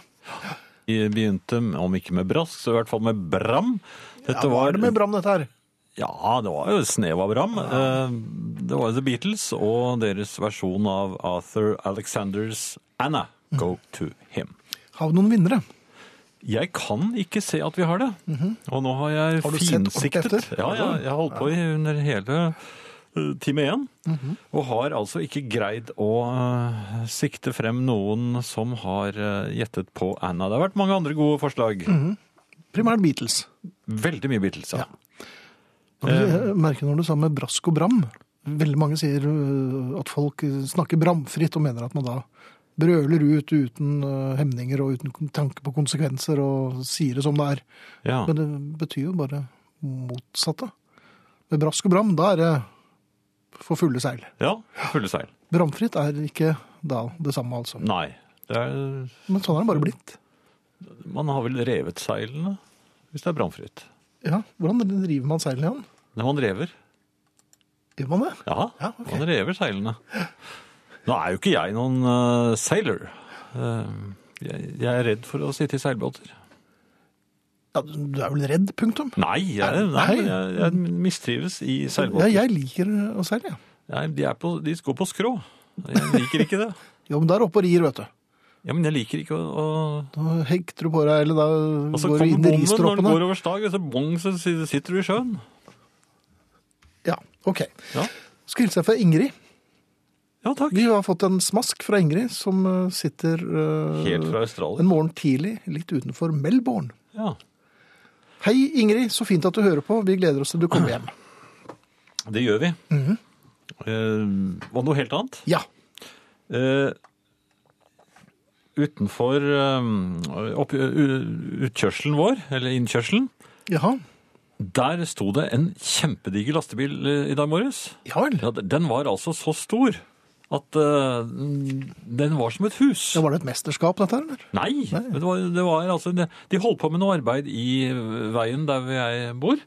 B: Vi begynte, om ikke med brask, så i hvert fall med bram. Dette
A: Ja, hva
B: var,
A: er det med Brann, dette her?
B: Ja, det var jo et snev av bram. Eh, Det var jo The Beatles og deres versjon av Arthur Alexanders Anna, Go to Him.
A: Har vi noen vinnere?
B: Jeg kan ikke se at vi har det. Og nå har
A: Mhm.
B: jeg
A: Har du sett ordentlig
B: finsiktet.
A: etter?
B: Ja, ja, jeg har holdt på i under hele eh, time én.
A: Mhm.
B: Og har altså ikke greid å eh, sikte frem noen som har eh, gjettet på Anna. Det har vært mange andre gode forslag.
A: Mhm. Primært Beatles.
B: Veldig mye Beatles, ja. Eh.
A: Jeg merker når du sa med brask og bram. Veldig mange sier øh, at folk snakker bramfritt og mener at man da brøler ut uten øh, hemninger og uten tanke på konsekvenser og sier det som det er.
B: ja.
A: Men det betyr jo bare motsatte. Med brask og bram, da er det for fulle seil.
B: Ja, fulle seil.
A: Bramfritt er ikke da det samme, altså.
B: Nei. Det er,
A: Men sånn er det bare blitt.
B: man har vel revet seilene hvis det er brannfritt.
A: Ja, Hvordan river man seilene igjen?
B: Når man rever.
A: Gjør man det?
B: Ja,
A: Ja, ok.
B: man rever seilene. Nå er jo ikke jeg noen eh, sailor. Eh, jeg, jeg er redd for å sitte i seilbåter.
A: Ja, du er vel redd, punktum.
B: Nei, jeg, nei,
A: Nei.
B: jeg, jeg mistrives i
A: Ja,
B: seilbåter.
A: jeg liker å seile, jeg.
B: Nei, de, er på, de går på skrå. Jeg liker ikke det.
A: Jo, men der oppe og rir, vet du.
B: Ja, Men jeg liker ikke å, å
A: Da hekter du på deg, eller da
B: Og så
A: går du
B: kommer
A: inn i
B: bommen når den
A: ristroppene.
B: går over stag, og så bong, så sitter du i sjøen.
A: Ja, ok.
B: Ja,
A: Skal hilse deg fra Ingrid.
B: ja takk.
A: Vi har fått en smask fra Ingrid, som eh, sitter eh,
B: Helt fra Australia.
A: en morgen tidlig litt utenfor Melbourne.
B: Ja.
A: Hei Ingrid, så fint at du hører på. Vi gleder oss til du kommer hjem.
B: Det gjør vi.
A: Mhm.
B: eh, og noe helt annet.
A: Ja,
B: Eh, utenfor eh, opp, u- utkjørselen vår, eller innkjørselen,
A: jaha.
B: der sto det en kjempediger lastebil eh, i dag morges.
A: Ja vel.
B: Ja, d- den var altså så stor at eh, den var som et hus.
A: Ja, var det et mesterskap dette her, eller?
B: Nei, men det var, det var altså, det- de holdt på med noe arbeid i veien der hvor jeg bor,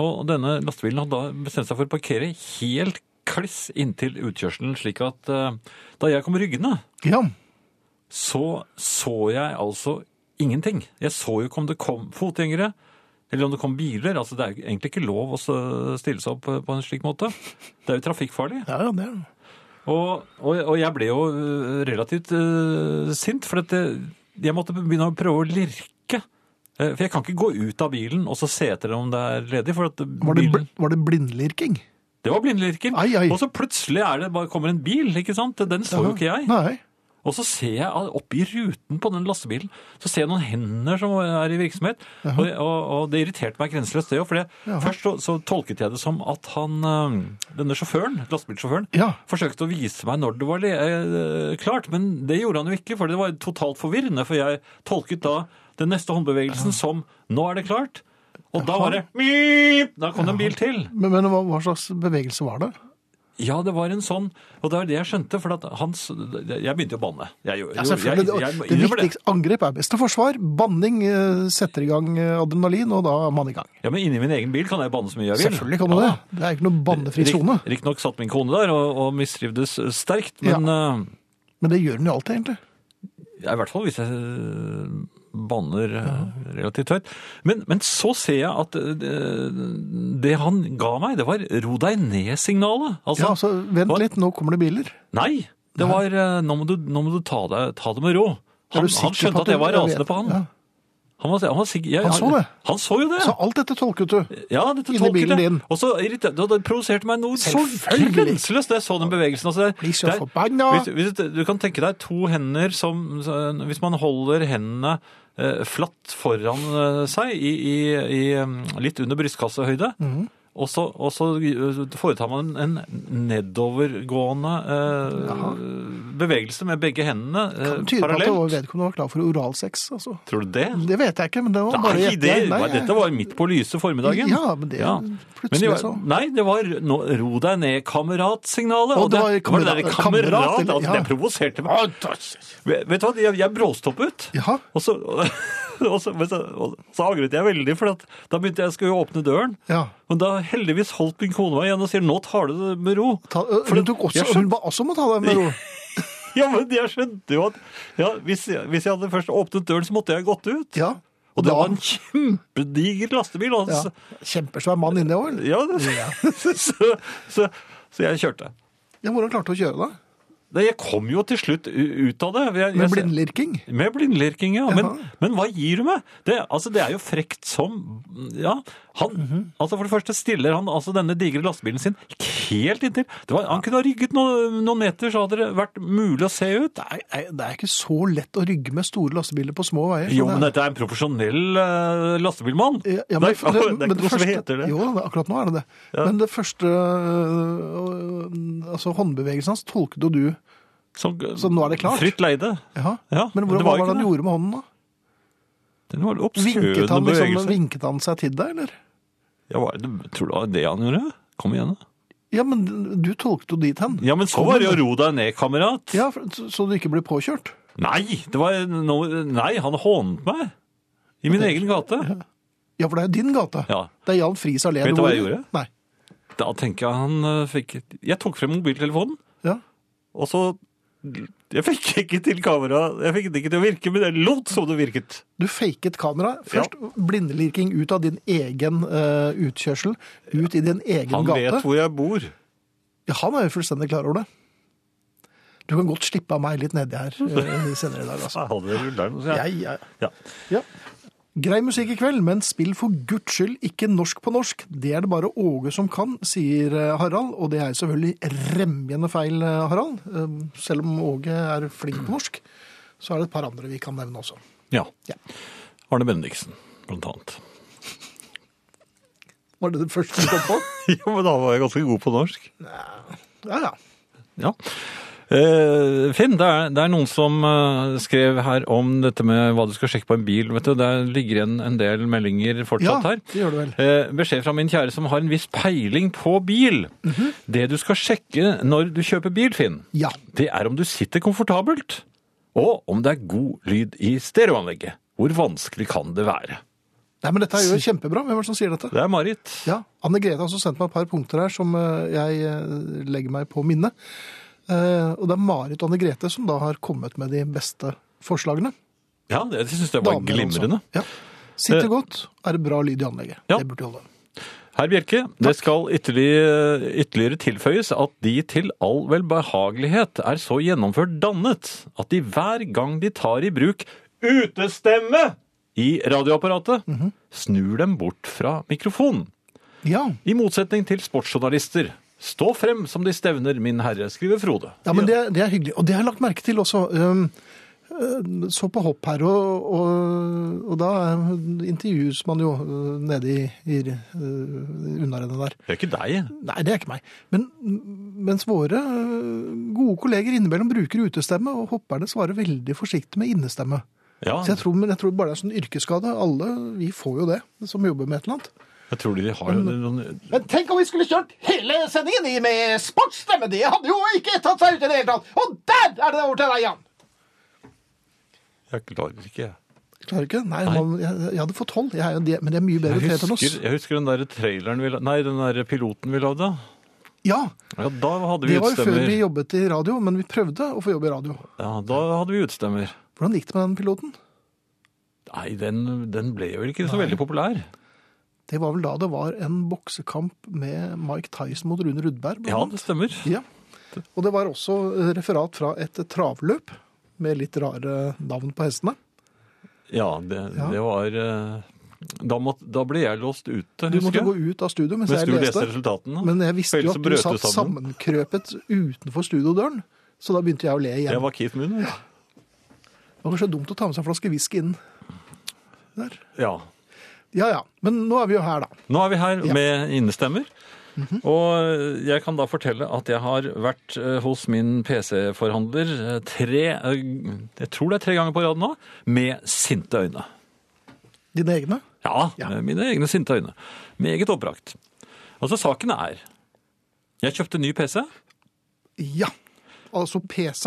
B: og denne lastebilen hadde da bestemt seg for å parkere helt kliss inntil utkjørselen, slik at eh, da jeg kom ryggende,
A: Ja.
B: så så jeg altså ingenting. Jeg så jo ikke om det kom fotgjengere, eller om det kom biler, altså det er jo egentlig ikke lov å s- stille seg opp eh, på- på en slik måte. Det er jo trafikkfarlig.
A: Ja, ja, det er det.
B: Og, og, og jeg ble jo øh, relativt øh, sint, for at jeg, jeg måtte begynne å prøve å lirke. Eh, For jeg kan ikke gå ut av bilen og så se etter om det er ledig. For at
A: Var det,
B: bilen,
A: bl var det blindlirking?
B: det var blindlirking.
A: Ai, ai.
B: Og så plutselig er det bare kommer en bil, ikke sant? Den så jo ikke jeg.
A: Nei.
B: Og så ser jeg at oppe i ruten på den lastebilen, så ser jeg noen hender som er i virksomhet. og, og, og det irriterte meg grenseløst det òg, for det-
A: Jaha.
B: først så, så tolket jeg det som at han, øh, denne sjåføren, lastebilsjåføren,
A: Ja.
B: forsøkte å vise meg når det var le eh, klart, men det gjorde han jo ikke, for det var totalt forvirrende, for jeg tolket da den neste håndbevegelsen som 'nå er det klart'. Og da var det «Mip!» Da kom det en bil til.
A: Men, men hva, hva slags bevegelse var det?
B: Ja, det var en sånn Og det var det jeg skjønte, for at hans Jeg begynte å banne. Jeg, gjorde-
A: Ja,
B: jeg,
A: selvfølgelig.
B: jeg,
A: Det,
B: jeg
A: det
B: innrømmer det.
A: viktigste angrep er beste forsvar. Banning eh, setter i gang eh, adrenalin, og da er man i gang.
B: Ja, men inni min egen bil kan jeg banne så mye jeg vil.
A: Selvfølgelig kan du det. Det er ikke noen bannefri sone.
B: Riktignok satt min kone der og, og mistrivdes sterkt, men eh,
A: Men det gjør den jo alltid, egentlig.
B: ja, i hvert fall hvis jeg eh, banner eh, relativt høyt. Men, men så ser jeg at eh, det- det han ga meg, det var ro deg ned-signalet.
A: Ja,
B: Altså,
A: altså, vent
B: Hva?
A: litt, nå kommer det biler.
B: nei! Det var eh, nå må du, nå må du ta, deg, ta det med ro.
A: Er du
B: Han, han
A: sikker på
B: skjønte
A: at
B: at jeg var
A: du-
B: rasende
A: vet-
B: på han.
A: Ja.
B: Han, var, han, var sikker, jeg,
A: Han så det.
B: Han så jo det.
A: Så alt dette tolket du.
B: Ja, dette
A: Inni
B: tolker
A: bilen
B: det.
A: din.
B: Og så irriter- det, det provoserte meg noe så
A: Selvfølgelig.
B: grenseløst da jeg så den bevegelsen. Altså, det,
A: Blir så
B: det er-
A: forbanna.
B: Hvis, hvis du- du kan tenke deg to hender som så- Hvis man holder hendene eh, flatt foran eh, seg, i, i, i, um, litt under brystkassehøyde,
A: Mhm.
B: og, så, og så eh, foretar man en nedovergående eh, bevegelse med begge hendene eh,
A: Det tyder på at det var
B: parallelt.
A: vedkommende var klar for oralsex. Altså.
B: Tror du det?
A: Det vet jeg ikke, men det var bare
B: Nei,
A: gjetting.
B: det,
A: Nei,
B: nei,
A: jeg-
B: dette var midt på lyse formiddagen.
A: Ja, men det
B: Men det
A: plutselig
B: var-
A: så.
B: Nei, det var nå, ro deg ned, kamerat-signalet.
A: Å,
B: Og det,
A: det var
B: det var det der
A: kamerat-
B: kamerat,
A: kamerat, eller-
B: altså,
A: ja.
B: det provoserte meg. Vet vet du hva, jeg, jeg bråstoppet.
A: Jaha.
B: Og så, *laughs* og så, men så, og så angret jeg veldig, for at, da begynte jeg skulle åpne døren.
A: Ja.
B: Men da heldigvis holdt min kone meg igjen og sier 'nå tar du det med ro'. *laughs*
A: Ta, ø,
B: For
A: hun,
B: det-
A: tok også,
B: jeg
A: hun
B: skjønte-
A: ba også om å ta deg med ro.
B: *laughs* Ja, men jeg skjønte jo at ja, hvis, jeg- hvis jeg hadde først åpnet døren, så måtte jeg gått ut.
A: Ja.
B: Og det
A: Da-
B: var en kjempediger lastebil. altså.
A: ja.
B: Og så-
A: Kjempesvær mann inni òg.
B: Ja, det, *laughs* så, så, så jeg kjørte.
A: Ja, hvordan klarte du å kjøre da?
B: Nei, jeg kom jo til slutt u- ut av det. Jeg,
A: Med
B: jeg-
A: blindlirking?
B: Med blindlirking, ja. Men,
A: Jaha.
B: men hva gir du meg? Det, altså, det er jo frekt som Ja. Han,
A: Mhm.
B: altså For det første stiller han altså denne digre lastebilen sin helt inntil. Det var, han kunne ha rygget noen, noen meter, så hadde det vært mulig å se ut.
A: Nei, nei, det er ikke så lett å rygge med store lastebiler på små veier.
B: Jo,
A: så
B: men
A: det er-
B: dette er en profesjonell eh, lastebilmann.
A: Ja, ja,
B: Nei,
A: men,
B: det, er
A: men
B: ikke noe som
A: første-
B: heter det.
A: Jo, da, akkurat nå er det det. Men det første øh, altså, håndbevegelsen hans tolket jo du.
B: Som-
A: så nå er det klart.
B: Fritt leide.
A: Jaha.
B: Ja,
A: men
B: men det
A: hvordan
B: var
A: var
B: jo
A: det han
B: ikke
A: gjorde med hånden da?
B: Den var
A: Vinket
B: obskøne
A: han, liksom,
B: bevegelser.
A: vinket han seg til deg, eller?
B: Ja, hva er det- tror du det var det han gjorde? Kom igjen, da.
A: Ja, men du tolket jo dit hen.
B: Ja, men så var det å ro deg ned, kamerat.
A: Ja, for- så- så du ikke blir påkjørt.
B: Nei, det var noe, nei, han hånet meg. I min egen gate.
A: Ja, for det er jo din gate.
B: Ja.
A: Det er Jan Friis alene.
B: Vet du hva jeg
A: hvor-
B: gjorde?
A: Nei.
B: Da tenker jeg han eh, fikk Jeg tok frem mobiltelefonen,
A: Ja.
B: og så Jeg fikk ikke til kamera. Jeg fikk det ikke til å virke, men det lot som det virket.
A: Du faket kamera. Først blindelirking ut av din egen eh, utkjørsel, ut i din egen
B: Han
A: gate.
B: vet hvor jeg bor.
A: Ja, han er jo fullstendig klar over det. Du kan godt slippe av meg litt nedi her eh, senere i dag, *laughs* altså.
B: Så jeg hadde rulleren, så jeg-
A: Jeg, jeg.
B: Ja.
A: Ja. Grei musikk i kveld, men spill for guds skyld ikke norsk på norsk. Det er det bare Åge som kan, sier eh, Harald. Og det er selvfølgelig remjende feil, eh, Harald. Eh, Selv om Åge er flink på norsk, så er det et par andre vi kan nevne også.
B: ja.
A: Ja.
B: Arne Bendiksen, blant annet.
A: Var det det første du kom på?
B: *laughs* Ja, men da var jeg ganske god på norsk.
A: Ja, ja.
B: Ja. Eh, Finn, det er, det er noen som eh, skrev her om dette med hva du skal sjekke på en bil. vet du. Der ligger igjen en del meldinger
A: Ja,
B: fortsatt her.
A: det gjør det vel.
B: Eh, beskjed fra min kjære som har en viss peiling på bil.
A: Mhm.
B: Det du skal sjekke når du kjøper bil, Finn,
A: Ja.
B: det er om du sitter komfortabelt, og om det er god lyd i stereoanlegget. Hvor vanskelig kan det være?
A: Nei, men dette er jo kjempebra. Hvem er det som sier dette?
B: Det er Marit.
A: Ja, Anne Grete har også sendt meg et par punkter her som eh, jeg eh, legger meg på minnet. Eh, Og det er Marit og Anne Grete som da har kommet med de beste forslagene.
B: Ja, det, jeg syns det var
A: Damer, altså.
B: glimrende. Eh.
A: Ja. Sitter godt, er det bra lyd i anlegget.
B: Ja.
A: Det burde holde.
B: Herr Bjerke, det skal ytterligere, ytterligere tilføyes at de til all velbehagelighet er så gjennomført dannet at de hver gang de tar i bruk utestemme i radioapparatet,
A: Mhm.
B: snur dem bort fra mikrofonen.
A: Ja.
B: I motsetning til sportsjournalister. Stå frem som de stevner, min herre, skriver Frode.
A: ja, men det, er- det er hyggelig. Og det har jeg lagt merke til også. Um, um, Så på hopp her, og, og, og da eh, intervjues man jo uh, nede i, i uh, unnarennet der.
B: Det er ikke deg.
A: Nei, det er ikke meg. Men mens våre eh, øh, gode kolleger innimellom bruker utestemme, og hopperne svarer veldig forsiktig med innestemme.
B: Ja,
A: Så jeg tror, men jeg tror bare det er sånn yrkesskade. Alle vi får jo det, som jobber med et eller annet.
B: jeg tror de har jo noen
C: Men tenk om vi skulle kjørt hele sendingen i med sportsstemme! Det hadde jo ikke tatt seg ut i det hele tatt! Og der er det over til deg, Jan!
B: Jeg klarer ikke, jeg.
A: Klarer ikke? Nei, Man, jeg, jeg hadde fått tolv, jeg er jo det, men det er mye bedre
B: Jeg
A: tre enn oss.
B: husker, jeg husker den der traileren vi la- Nei, den der piloten vi lagde.
A: Ja,
B: Ja, da hadde vi
A: det var jo før
B: utstemmer.
A: vi jobbet i radio, men vi prøvde å få jobb i radio.
B: Ja, da hadde vi utstemmer.
A: Hvordan gikk det med den piloten?
B: Nei, den, den ble jo ikke så veldig populær.
A: Det var vel da det var en boksekamp med Mike Tyson mot Rune Rudberg. blant
B: Ja,
A: annet.
B: det stemmer.
A: Ja. Og det var også eh, referat fra et travløp med litt rare navn på hestene.
B: Ja, det,
A: Ja.
B: det var eh, da, måtte, da ble jeg låst ute,
A: Du måtte
B: husker
A: gå
B: jeg.
A: ut av studio mens,
B: Mens du
A: jeg
B: leste
A: leste.
B: resultatene.
A: Men jeg visste jo at
B: Ellers så
A: du
B: sånn. brøt
A: satt
B: sammen.
A: sammenkrøpet utenfor studiodøren. Så da begynte jeg å le igjen.
B: Jeg var Keith Moon. jeg.
A: Det var kanskje dumt å ta med seg en flaske whisky inn. Der.
B: Ja.
A: Ja, ja. Men nå er vi jo her, da.
B: Nå er vi her
A: Ja. Mhm.
B: med innestemmer. Og eh, jeg kan da fortelle at jeg har vært eh, hos min PC-forhandler eh, tre eh, Jeg tror det er tre ganger på rad nå med sinte øyne.
A: Dine egne.
B: Ja,
A: Ja.
B: med mine egne sinte øyne. Meget oppbrakt. Altså, saken er Jeg kjøpte ny PC.
A: Ja. Altså PC.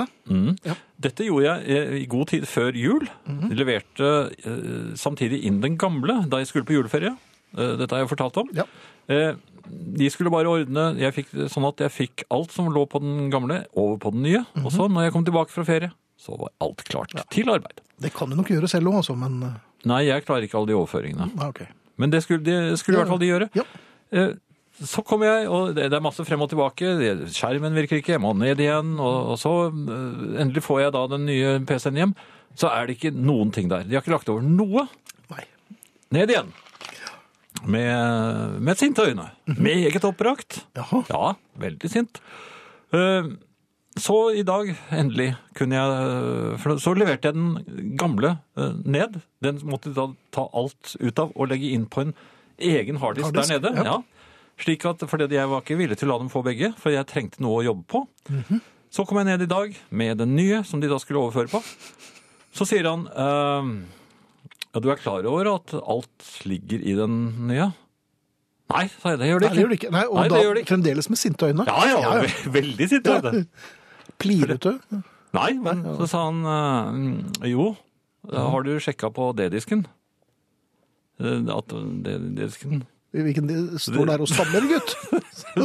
B: Dette gjorde jeg eh, i god tid før jul.
A: Mhm.
B: Jeg Leverte eh, samtidig inn den gamle da jeg skulle på juleferie. Eh, Dette har jeg fortalt om.
A: Ja.
B: Eh, De skulle bare ordne jeg fikk, det sånn at jeg fikk alt som lå på den gamle, over på den nye.
A: Mhm.
B: Og så, når jeg kom tilbake fra ferie, så var alt klart til arbeid.
A: Det kan du nok gjøre selv òg, altså, men eh,
B: Nei, jeg klarer ikke alle de overføringene.
A: Nei, OK.
B: Men det skulle, det skulle i hvert fall de gjøre.
A: Ja.
B: Eh, Så kommer jeg, og det det er masse frem og tilbake. Skjermen virker ikke, jeg må ned igjen. Og, og så eh, endelig får jeg da den nye PC-en hjem. Så er det ikke noen ting der. De har ikke lagt over noe.
A: Nei.
B: Ned igjen. Med, med sinte øyne. Meget oppbrakt.
A: Jaha.
B: Ja, veldig sint. Eh, Så i dag, endelig, kunne jeg eh, for Så leverte jeg den gamle eh, ned. Den måtte da ta alt ut av og legge inn på en egen harddisk,
A: Harddisk,
B: der nede.
A: ja.
B: Ja. Slik at, fordi jeg var ikke villig til å la dem få begge, for jeg trengte noe å jobbe på.
A: Mhm.
B: Så kom jeg ned i dag med den nye, som de da skulle overføre på. Så sier han ehm, ja, du er klar over at alt ligger i den nye? Nei, sa jeg. Det gjør det
A: Nei,
B: ikke.
A: det gjør det ikke. Nei, og
B: Nei, det
A: da
B: gjør det ikke.
A: fremdeles med sinte øyne.
B: Ja, ja, ve- veldig sitt øyne.
A: *laughs* Plirete.
B: Nei, men så sa han eh, mm, jo, har du sjekka på D-disken? Eh, At *laughs* D-disken
A: Hvilken de står der og stammer, gutt.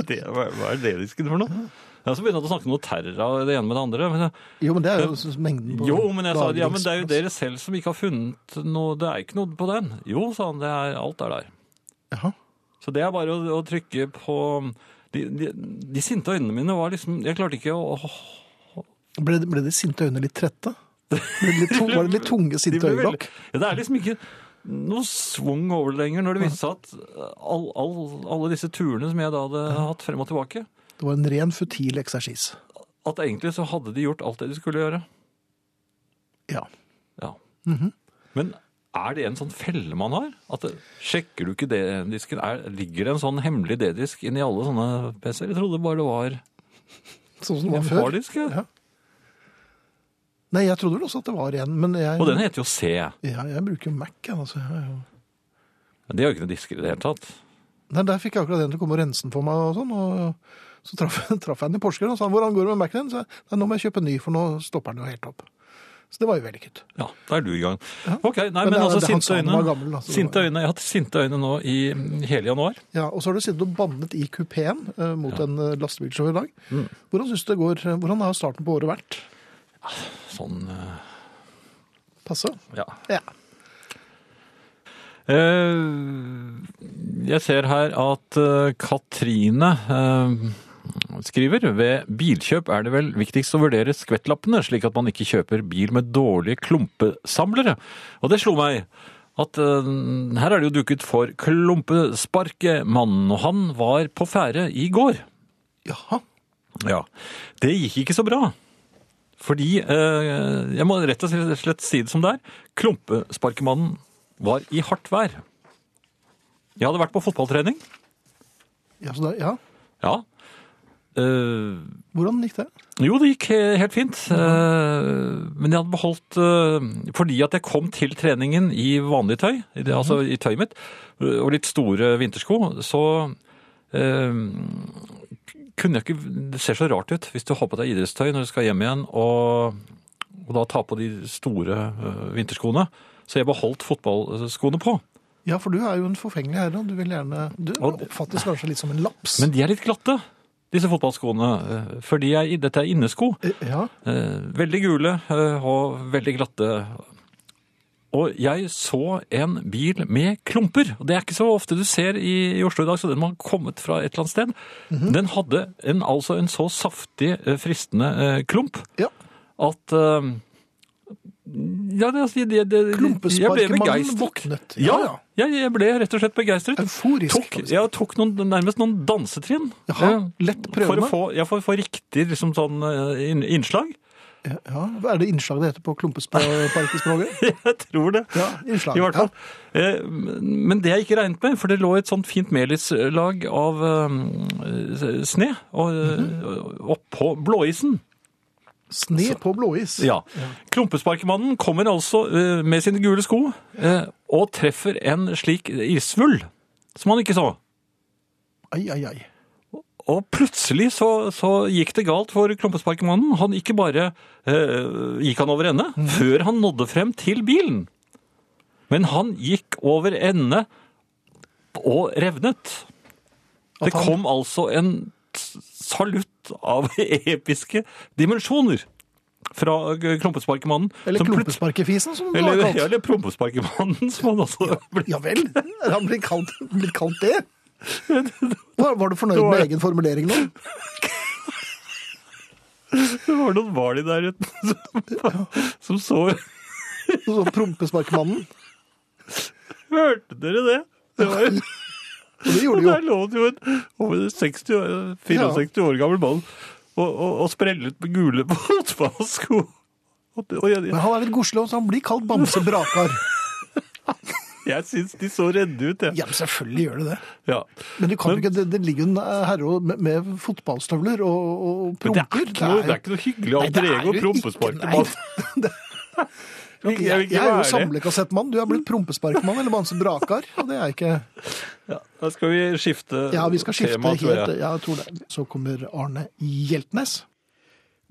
B: Det- Hva hva er D-disken for noe? Ja, Så begynte han å snakke noe terror av det ene med det andre. Men,
A: Jo, men det er jo mengden på
B: jo, men jeg sa ja, men det er jo
A: lagringsplass.
B: dere selv som ikke har funnet noe Det er ikke noe på den. Jo, sa han, det er, alt er der.
A: Jaha.
B: Så det er bare å, å trykke på de, de, de sinte øynene mine var liksom Jeg klarte ikke å
A: Ble, ble de sinte øynene litt trette? Ble det litt tung, var det litt tunge
B: *laughs* De
A: sinte
B: ble
A: øyelokk?
B: veldig- Ja, det er liksom ikke noe svung over det lenger når det viste seg at all, all, alle disse turene som jeg da hadde hatt frem og tilbake,
A: Det var en ren futil eksersis.
B: at egentlig så hadde de gjort alt det de skulle gjøre.
A: Ja.
B: Ja.
A: Mhm.
B: Men er det en sånn felle man har? At det, sjekker du ikke D-disken? Er- Ligger det en sånn hemmelig D-disk inni alle sånne PC-er? Jeg trodde bare det var
A: Sånn som det
B: en
A: var før.
B: harddisk. Ja.
A: Ja. Nei, jeg trodde vel også at det var en, men jeg,
B: Og den heter jo C. Ja,
A: ja, jeg bruker jo Mac. jeg, Altså. Ja, ja.
B: Det er jo ikke noen disker i det hele tatt.
A: Nei, der fikk jeg akkurat den til å komme og rense den for meg. og sånn, og Så traff, traff jeg *laughs* den i Porsgrunn og sa hvordan går det med Mac-en din? Så jeg, «Nei, nå må jeg kjøpe en ny, for nå stopper den jo helt opp. Så det var jo vellykket.
B: Ja, da er du i gang. Ok, nei, men,
A: det er-
B: altså
A: det er han
B: sinte
A: sa han
B: øyne.
A: var gammel, da, så det
B: sinte
A: var-
B: øyne. Jeg har hatt sinte øyne nå i hele januar.
A: Ja, Og så har du sittet og bannet i kupeen eh, mot en eh, lastebilsjåfør i dag.
B: Mm.
A: Hvordan synes du det går, eh, hvordan har starten på året vært?
B: Sånn, eh,
A: Passe?
B: ja.
A: Ja.
B: Eh, Jeg ser her at eh, Katrine eh, skriver Ved bilkjøp er det vel viktigst å vurdere skvettlappene, slik at man ikke kjøper bil med dårlige klumpesamlere. Og det slo meg at eh, her er det jo duket for Klumpesparkemannen, og han var på ferde i går.
A: Jaha.
B: Ja, det gikk ikke så bra. Fordi, eh, jeg må rett og slett si det som det er, klumpesparkemannen var i hardt vær. Jeg hadde vært på fotballtrening.
A: Ja, så da, ja.
B: Ja. Eh,
A: Hvordan gikk det?
B: jo, det gikk he- helt fint. Eh, men jeg hadde beholdt eh, Fordi at jeg kom til treningen i vanlig tøy, i det, altså i tøyet mitt, eh, og litt store vintersko, så eh, kunne jeg ikke Det ser så rart ut hvis du har på deg idrettstøy når du skal hjem igjen, og, og da ta på de store eh, vinterskoene. Så jeg beholdt fotballskoene på.
A: Ja, for du er jo en forfengelig herre. og Du vil gjerne Du
B: Og-
A: oppfattes kanskje litt som en laps.
B: Men de er litt glatte, disse fotballskoene. eh, Fordi jeg, dette er innesko.
A: Eh, Ja.
B: Eh, Veldig gule eh, og veldig glatte. Og jeg så en bil med klumper. og Det er ikke så ofte du ser i, i Oslo i dag, så den må ha kommet fra et eller annet sted.
A: Mhm.
B: Den hadde en, altså en så saftig, eh, fristende eh, klump
A: ja.
B: at eh, ja, det, altså, det, det, jeg ble
A: Klumpesparkemannen
B: begeistret.
A: våknet. Ja,
B: Ja,
A: ja.
B: Jeg, jeg ble rett og slett begeistret.
A: Euforisk,
B: Tok,
A: kan vi si.
B: jeg tok noen, nærmest noen dansetrinn.
A: Jaha,
B: eh,
A: lett
B: For å
A: prøvende.
B: få, ja, for å få riktig liksom, sånn, eh, inn- innslag.
A: Ja, Er det innslag det heter på
B: *laughs*
A: klumpesparkespråket?
B: Jeg tror det.
A: Ja, innslag.
B: I hvert fall. Eh, Men det jeg ikke regnet med, for det lå et sånt fint melislag av eh, sne og, oppå blåisen.
A: Ja. Sne på blåis.
B: Ja. Klumpesparkemannen kommer altså eh, med sine gule sko eh, og treffer en slik isvull som han ikke så.
A: Ai, ai, ai.
B: Og plutselig så, så gikk det galt for klumpesparkemannen. Han ikke bare eh, gikk han over ende
A: Mhm.
B: før han nådde frem til bilen. Men han gikk over ende og revnet.
A: At
B: Det
A: han-
B: kom altså en s- salutt av *laughs* episke dimensjoner fra klumpesparkemannen.
A: Eller
B: som plut-
A: klumpesparkefisen, som det var
B: Eller,
A: kalt.
B: *laughs* eller prompesparkemannen, som han også *laughs* ble.
A: Ja vel, er han blitt kalt, blitt kalt det? Var, var du fornøyd
B: Det var-
A: med egen formulering nå?
B: Det var noen hvali der ute som, *laughs* som så
A: Så prompesparkmannen.
B: Hørte dere det? Det var jo
A: Og det gjorde
B: Og
A: det jo.
B: der lå det jo en over 60, år- 64 år gammel mann og, og, og sprellet med gule *laughs* fotballsko. Og, det- og jeg,
A: Men han er litt godslig, så han blir kalt Bamse Brakar.
B: jeg syns de så redde ut, jeg.
A: Ja, men selvfølgelig gjør det det.
B: Ja.
A: Men du kan jo ikke, det, det ligger jo en eh, herre og- med, med fotballstøvler og, og
B: Men det
A: promper.
B: er ikke noe, det er ikke noe hyggelig
A: Nei, det er
B: alter ego
A: jo
B: å prompesparke
A: ikke- *laughs*
B: mann.
A: Jeg,
B: Jeg vil
A: jeg
B: ikke
A: er jo
B: være Mm. det.
A: samlekassettmann. Du er blitt prompesparkmann eller Bamse Brakar. Og det er ikke
B: Ja, da skal vi skifte
A: Ja, vi skal skifte
B: tema, tror
A: helt.
B: jeg.
A: Ja, jeg tror det. Så kommer Arne Hjeltnes.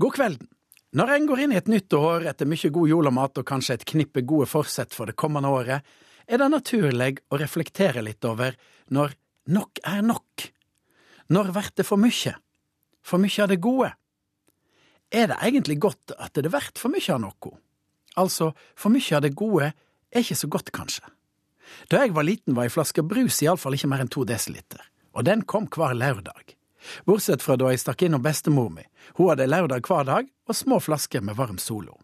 D: God kvelden. Når en går inn i et nytt år etter mye god julemat og kanskje et knippe gode forsett for det kommende året, er det naturlig å reflektere litt over når nok er nok. Når blir det for mye? For mye av det gode? Er det egentlig godt at det blir for mye av noe? Altså, for mye av det gode er ikke så godt, kanskje. Da jeg var liten, var ei flaske brus iallfall ikke mer enn to desiliter, og den kom hver lørdag. Bortsett fra da jeg stakk innom bestemor mi. Hun hadde lørdag hver dag og små flasker med varm Solo.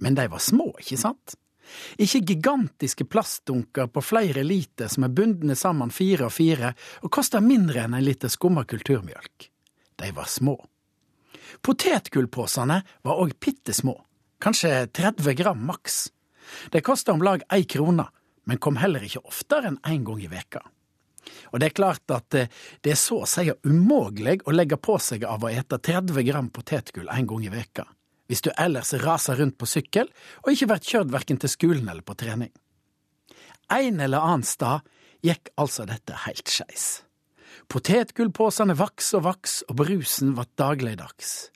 D: Men de var små, ikke sant? Ikke gigantiske plastdunker på flere liter som er bundne sammen fire og fire og koster mindre enn en liter skumma kulturmjølk. De var små. Potetgullposene var òg bitte små, kanskje 30 gram maks. De kosta om lag ei krone, men kom heller ikke oftere enn én gang i veka. Og det er klart at eh, det er så å si umulig å legge på seg av å ete 30 gram potetgull en gang i veka, hvis du ellers raser rundt på sykkel og ikke blir kjørt verken til skolen eller på trening. En eller annen stad gikk altså dette helt skeis. Potetgullposene vaks og vaks, og brusen vart dagligdags.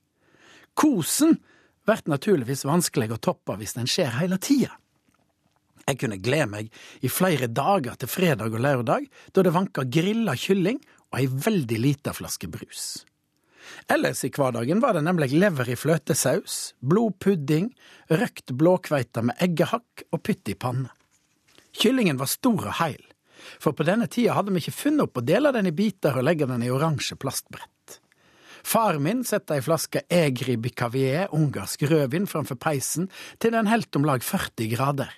D: Kosen vert naturligvis vanskelig å toppe hvis den skjer hele tida. Jeg kunne glede meg i flere dager til fredag og lørdag, da det vanka grilla kylling og ei veldig lita flaske brus. Ellers i hverdagen var det nemlig lever i fløtesaus, blodpudding, røkt blåkveite med eggehakk og pytt i panne. Kyllingen var stor og heil, for på denne tida hadde vi ikke funnet opp å dele den i biter og legge den i oransje plastbrett. Far min setter ei flaske Egri Bicavier, ungarsk rødvin, framfor peisen til den helt om lag 40 grader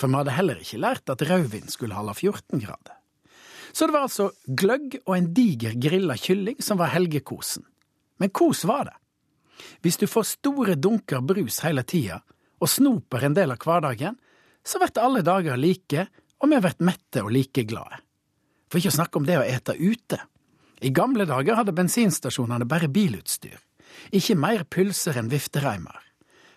D: for vi hadde heller ikke lært at rødvin skulle holde 14 grader. Så det var altså gløgg og en diger grilla kylling som var helgekosen. Men kos var det. Hvis du får store dunker brus hele tida, og snoper en del av hverdagen, så blir alle dager like, og vi blir mette og like glade. For ikke å snakke om det å ete ute. I gamle dager hadde bensinstasjonene bare bilutstyr, ikke mer pølser enn viftereimer.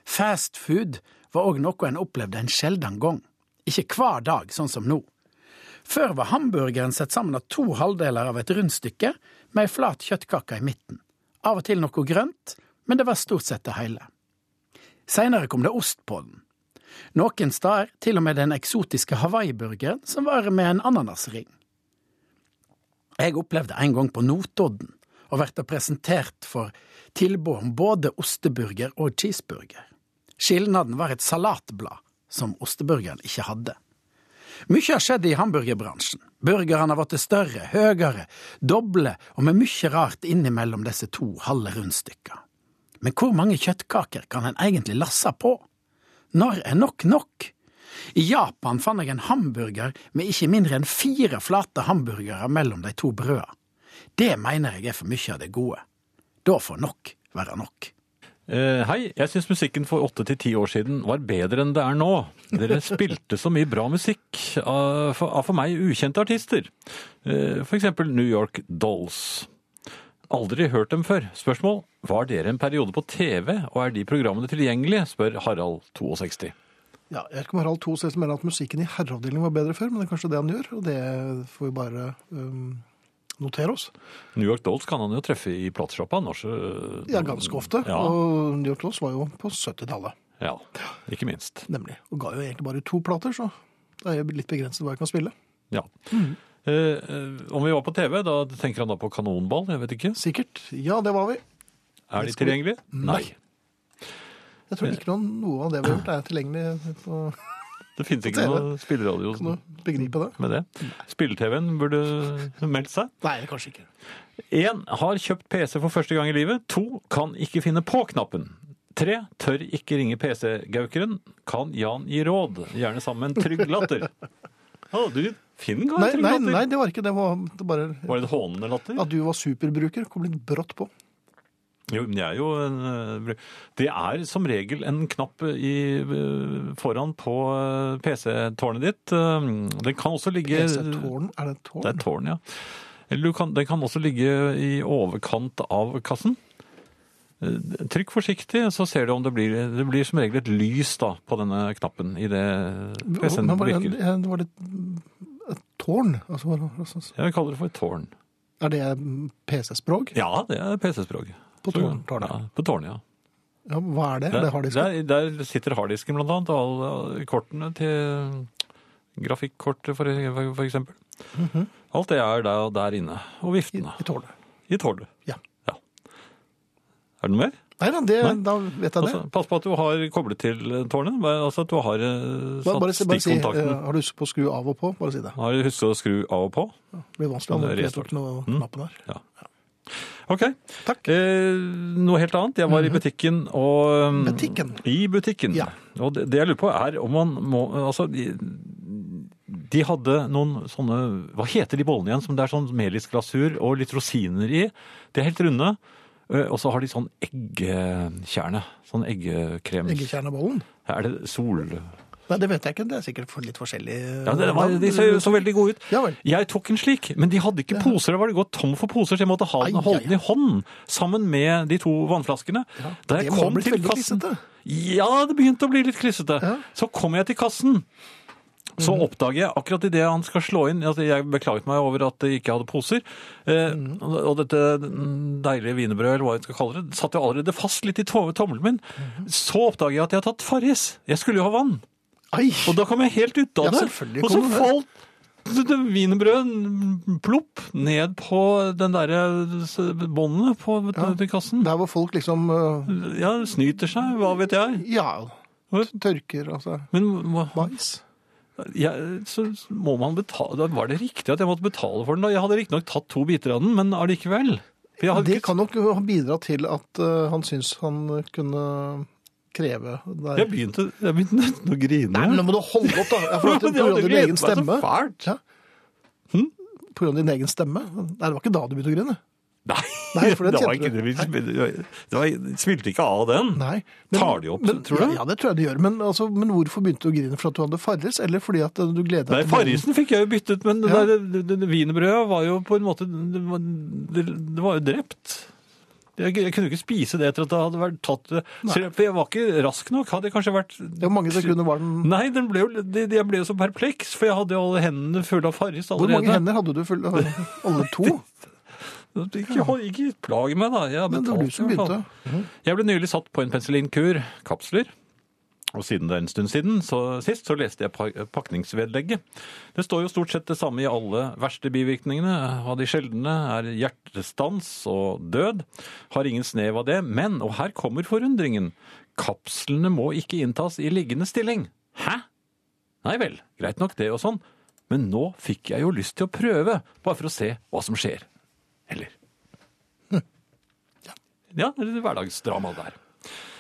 D: Fast food var òg noe en opplevde en sjelden gang, ikke hver dag sånn som nå. Før var hamburgeren sett sammen av to halvdeler av et rundstykke med ei flat kjøttkake i midten, av og til noe grønt, men det var stort sett det hele. Seinere kom det ost på den. Noen steder til og med den eksotiske hawaiiburgeren som var med en ananasring. Jeg opplevde en gang på Notodden å bli presentert for tilbud om både osteburger og cheeseburger. Skilnaden var et salatblad som osteburgeren ikke hadde. Mykje har skjedd i hamburgerbransjen. Burgerne har blitt større, høyere, doble og med mykje rart innimellom disse to halve rundstykka. Men hvor mange kjøttkaker kan en egentlig lasse på? Når er nok nok? I Japan fant jeg en hamburger med ikke mindre enn fire flate hamburgere mellom de to brøda. Det mener jeg er for mye av det gode. Da får nok være nok.
B: Eh, hei, jeg syns musikken for åtte til ti år siden var bedre enn det er nå. Dere *laughs* spilte så mye bra musikk av for, av for meg ukjente artister. Eh, for eksempel New York Dolls. Aldri hørt dem før. Spørsmål var dere en periode på TV, og er de programmene tilgjengelige? spør Harald 62.
A: Ja, jeg vet ikke om Harald Thos liksom mener at musikken i herreavdelingen var bedre før, men det er kanskje det han gjør, og det får vi bare um, notere oss.
B: New York Dolls kan han jo treffe i platesjappa. når så- eh,
A: Ja, ganske ofte.
B: Ja,
A: Og New York Dolls var jo på 70-tallet,
B: ja, ikke minst.
A: nemlig. Og ga jo egentlig bare to plater, så det er jo litt begrenset hva jeg kan spille.
B: Ja.
A: Mm.
B: Eh, eh, om vi var på TV, da tenker han da på kanonball? Jeg vet ikke.
A: Sikkert. Ja, det var vi.
B: Er de
A: skal vi-
B: tilgjengelige? Nei.
A: Jeg tror ikke noen, noe av det vi har gjort er tilgjengelig på
B: Det finnes ikke
A: TV.
B: noe spilleradio
A: å begripe det.
B: med det. Spille-TV-en burde meldt seg.
A: Nei, kanskje ikke.
B: Én har kjøpt PC for første gang i livet. To kan ikke finne på-knappen. Tre tør ikke ringe PC-gaukeren. Kan Jan gi råd? Gjerne sammen med en trygg latter. *laughs* Å, du, Finn ga en
A: Nei,
B: trygg
A: nei,
B: latter.
A: nei, det var ikke det. Det var det var bare
B: Var det en hånende latter?
A: at du var superbruker, kom litt brått på.
B: Jo, men jeg er jo en, eh, bru- Det er som regel en knapp i, eh, foran på eh, PC-tårnet ditt. Eh, Den kan også ligge
A: PC-tårn, er det et
B: Det er
A: tårn?
B: et tårn, ja. Eller du kan, den kan også ligge i overkant av kassen. Eh, Trykk forsiktig, så ser du om det blir Det blir som regel et lys da, på denne knappen i det PC-en
A: Men var det,
B: virker.
A: ja, det var det et tårn? Altså, var det- altså,
B: Jeg kaller det for et tårn.
A: er det PC-språk?
B: Ja, det er PC-språk.
A: På
B: Så-
A: tårn- tårnet.
B: Ja, på tårnet, ja.
A: Ja, hva er det? Det har de
B: der, der sitter harddisken blant annet, og alle kortene til grafikkortet for, for eksempel.
A: Mhm.
B: Alt det er der, der inne, og
A: i,
B: viftene.
A: i tårnet.
B: I tårnet.
A: Ja.
B: Er det noe mer?
A: Nei, da, det,
B: Nei.
A: da vet jeg det.
B: Altså, pass på at du har koblet til tårnet, bare- altså at du har
A: Bare,
B: eh, satt
A: bare, si- bare si,
B: stikkontakten.
A: eh, har du lyst på å skru av og på? Bare si det.
B: Har du husket å skru av og på?
A: Det blir vanskelig
B: Kan
A: om
B: du
A: du ikke
B: restarte?
A: tok noe knappen her.
B: Ok.
A: Takk.
B: Eh, noe helt annet. Jeg var i butikken og um,
A: Butikken?
B: I butikken.
A: Ja.
B: Og det, det jeg lurer på, er om man må Altså, de, de hadde noen sånne Hva heter de bollene igjen? Som det er sånn melisglasur og litt rosiner i. De er helt runde. Eh, Og så har de sånn eggekjerne. Sånn eggekrem.
A: Eggekjernebollen?
B: Er det sol...
A: Nei, det vet jeg ikke. Det er sikkert for litt forskjellig. eh,
B: Ja, det var, de ser jo så veldig gode ut.
A: Ja vel.
B: Jeg tok en slik, men de hadde ikke poser. Da var det gått tom for poser, så jeg måtte ha den,
A: Ai,
B: holde den i hånden sammen med de to vannflaskene. Da jeg
A: det må ha
B: kom
A: blitt
B: til
A: veldig
B: kassen
A: klissete.
B: Ja, det begynte å bli litt klissete.
A: Ja. Mhm.
B: Så kom jeg til kassen. Så oppdager jeg akkurat idet han skal slå inn altså Jeg beklaget meg over at jeg ikke hadde poser. Eh,
A: Mhm.
B: Og dette mm, deilige wienerbrødet, eller hva jeg skal kalle det, satt jo allerede fast litt i to- tommelen min.
A: Mhm.
B: Så oppdager jeg at jeg har tatt Farris. Jeg skulle jo ha vann.
A: Ai!
B: Og da kom jeg helt ut av
A: Ja,
B: det.
A: selvfølgelig
B: Og så
A: kom du det.
B: falt det- det wienerbrødet plopp ned på den derre s- båndet på til kassen.
A: Der hvor folk liksom øh,
B: Ja, det snyter seg, hva vet jeg.
A: Ja, tørker, altså.
B: Men hva-
A: Mais.
B: jeg, så så må man betale Da var det riktig at jeg måtte betale for den. da. Jeg hadde riktignok tatt to biter av den, men allikevel. For jeg hadde
A: Det
B: ikke-
A: kan nok ha bidratt til at øh, han syns han kunne kreve der.
B: jeg begynte, jeg begynte nesten å grine.
A: Nei,
B: *laughs*
A: men nå må du holde opp, da! Ja, For at på grunn
B: Men jeg hadde
A: av din
B: gledet
A: egen
B: meg så
A: stemme.
B: fælt.
A: Ja. På grunn av din egen stemme? Nei, det var ikke da du begynte å grine.
B: Nei.
A: Nei, for den
B: det var
A: kjente
B: ikke,
A: du.
B: det var, det smilte ikke av den.
A: Nei.
B: Tar de opp, tror du?
A: Ja, ja, det tror jeg de gjør. Men, altså, men hvorfor begynte du å grine? For at du hadde Farris, eller fordi at du gledet
B: Nei,
A: deg
B: Farrisen fikk jeg jo byttet, men
A: Ja.
B: det, det, det, det wienerbrødet var jo på en måte Det, var- det, det var jo drept. Jeg, jeg kunne jo ikke spise det etter at det hadde vært tatt Selv- For jeg var ikke rask nok. Hadde jeg kanskje vært
A: Det var mange sekunder var den
B: Nei, den ble jo, de, de- jeg ble jo så perpleks, for jeg hadde jo alle hendene fulle av Farris
A: Hvor
B: allerede.
A: mange hender hadde du fulle? Alle to?
B: Ikke, hold- ikke plag meg, da. Jeg har
A: Men det var
B: betalt
A: du som
B: i hvert fall.
A: begynte.
B: Jeg ble nylig satt på en penicillinkur, kapsler. Og siden det er en stund siden, så sist, så leste jeg pa- pakningsvedlegget. Det står jo stort sett det samme i alle verste bivirkningene. Av de sjeldne er hjertestans og død. Har ingen snev av det. Men, og her kommer forundringen, kapslene må ikke inntas i liggende stilling. Hæ? Nei vel, greit nok det og sånn. Men nå fikk jeg jo lyst til å prøve, bare for å se hva som skjer. Eller? Ja, det er hverdagsdrama der.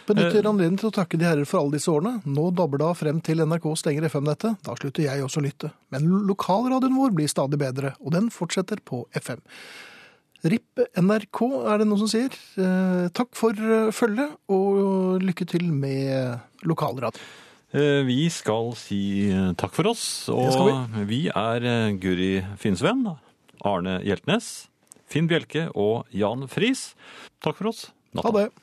A: Benytter anledningen til å takke de herrer for alle disse årene. Nå dabber det av frem til NRK stenger FM-nettet. Da slutter jeg også å lytte. Men lokalradioen vår blir stadig bedre, og den fortsetter på FM. RIP NRK er det noen som sier. Eh, takk for eh, følget, og lykke til med lokalradio.
B: Eh, Vi skal si eh, takk for oss.
A: Det
B: Og
A: skal
B: vi. er eh, Guri Finnsven, Arne Hjeltnes, Finn Bjelke og Jan Friis. Takk for oss.
A: Ha det.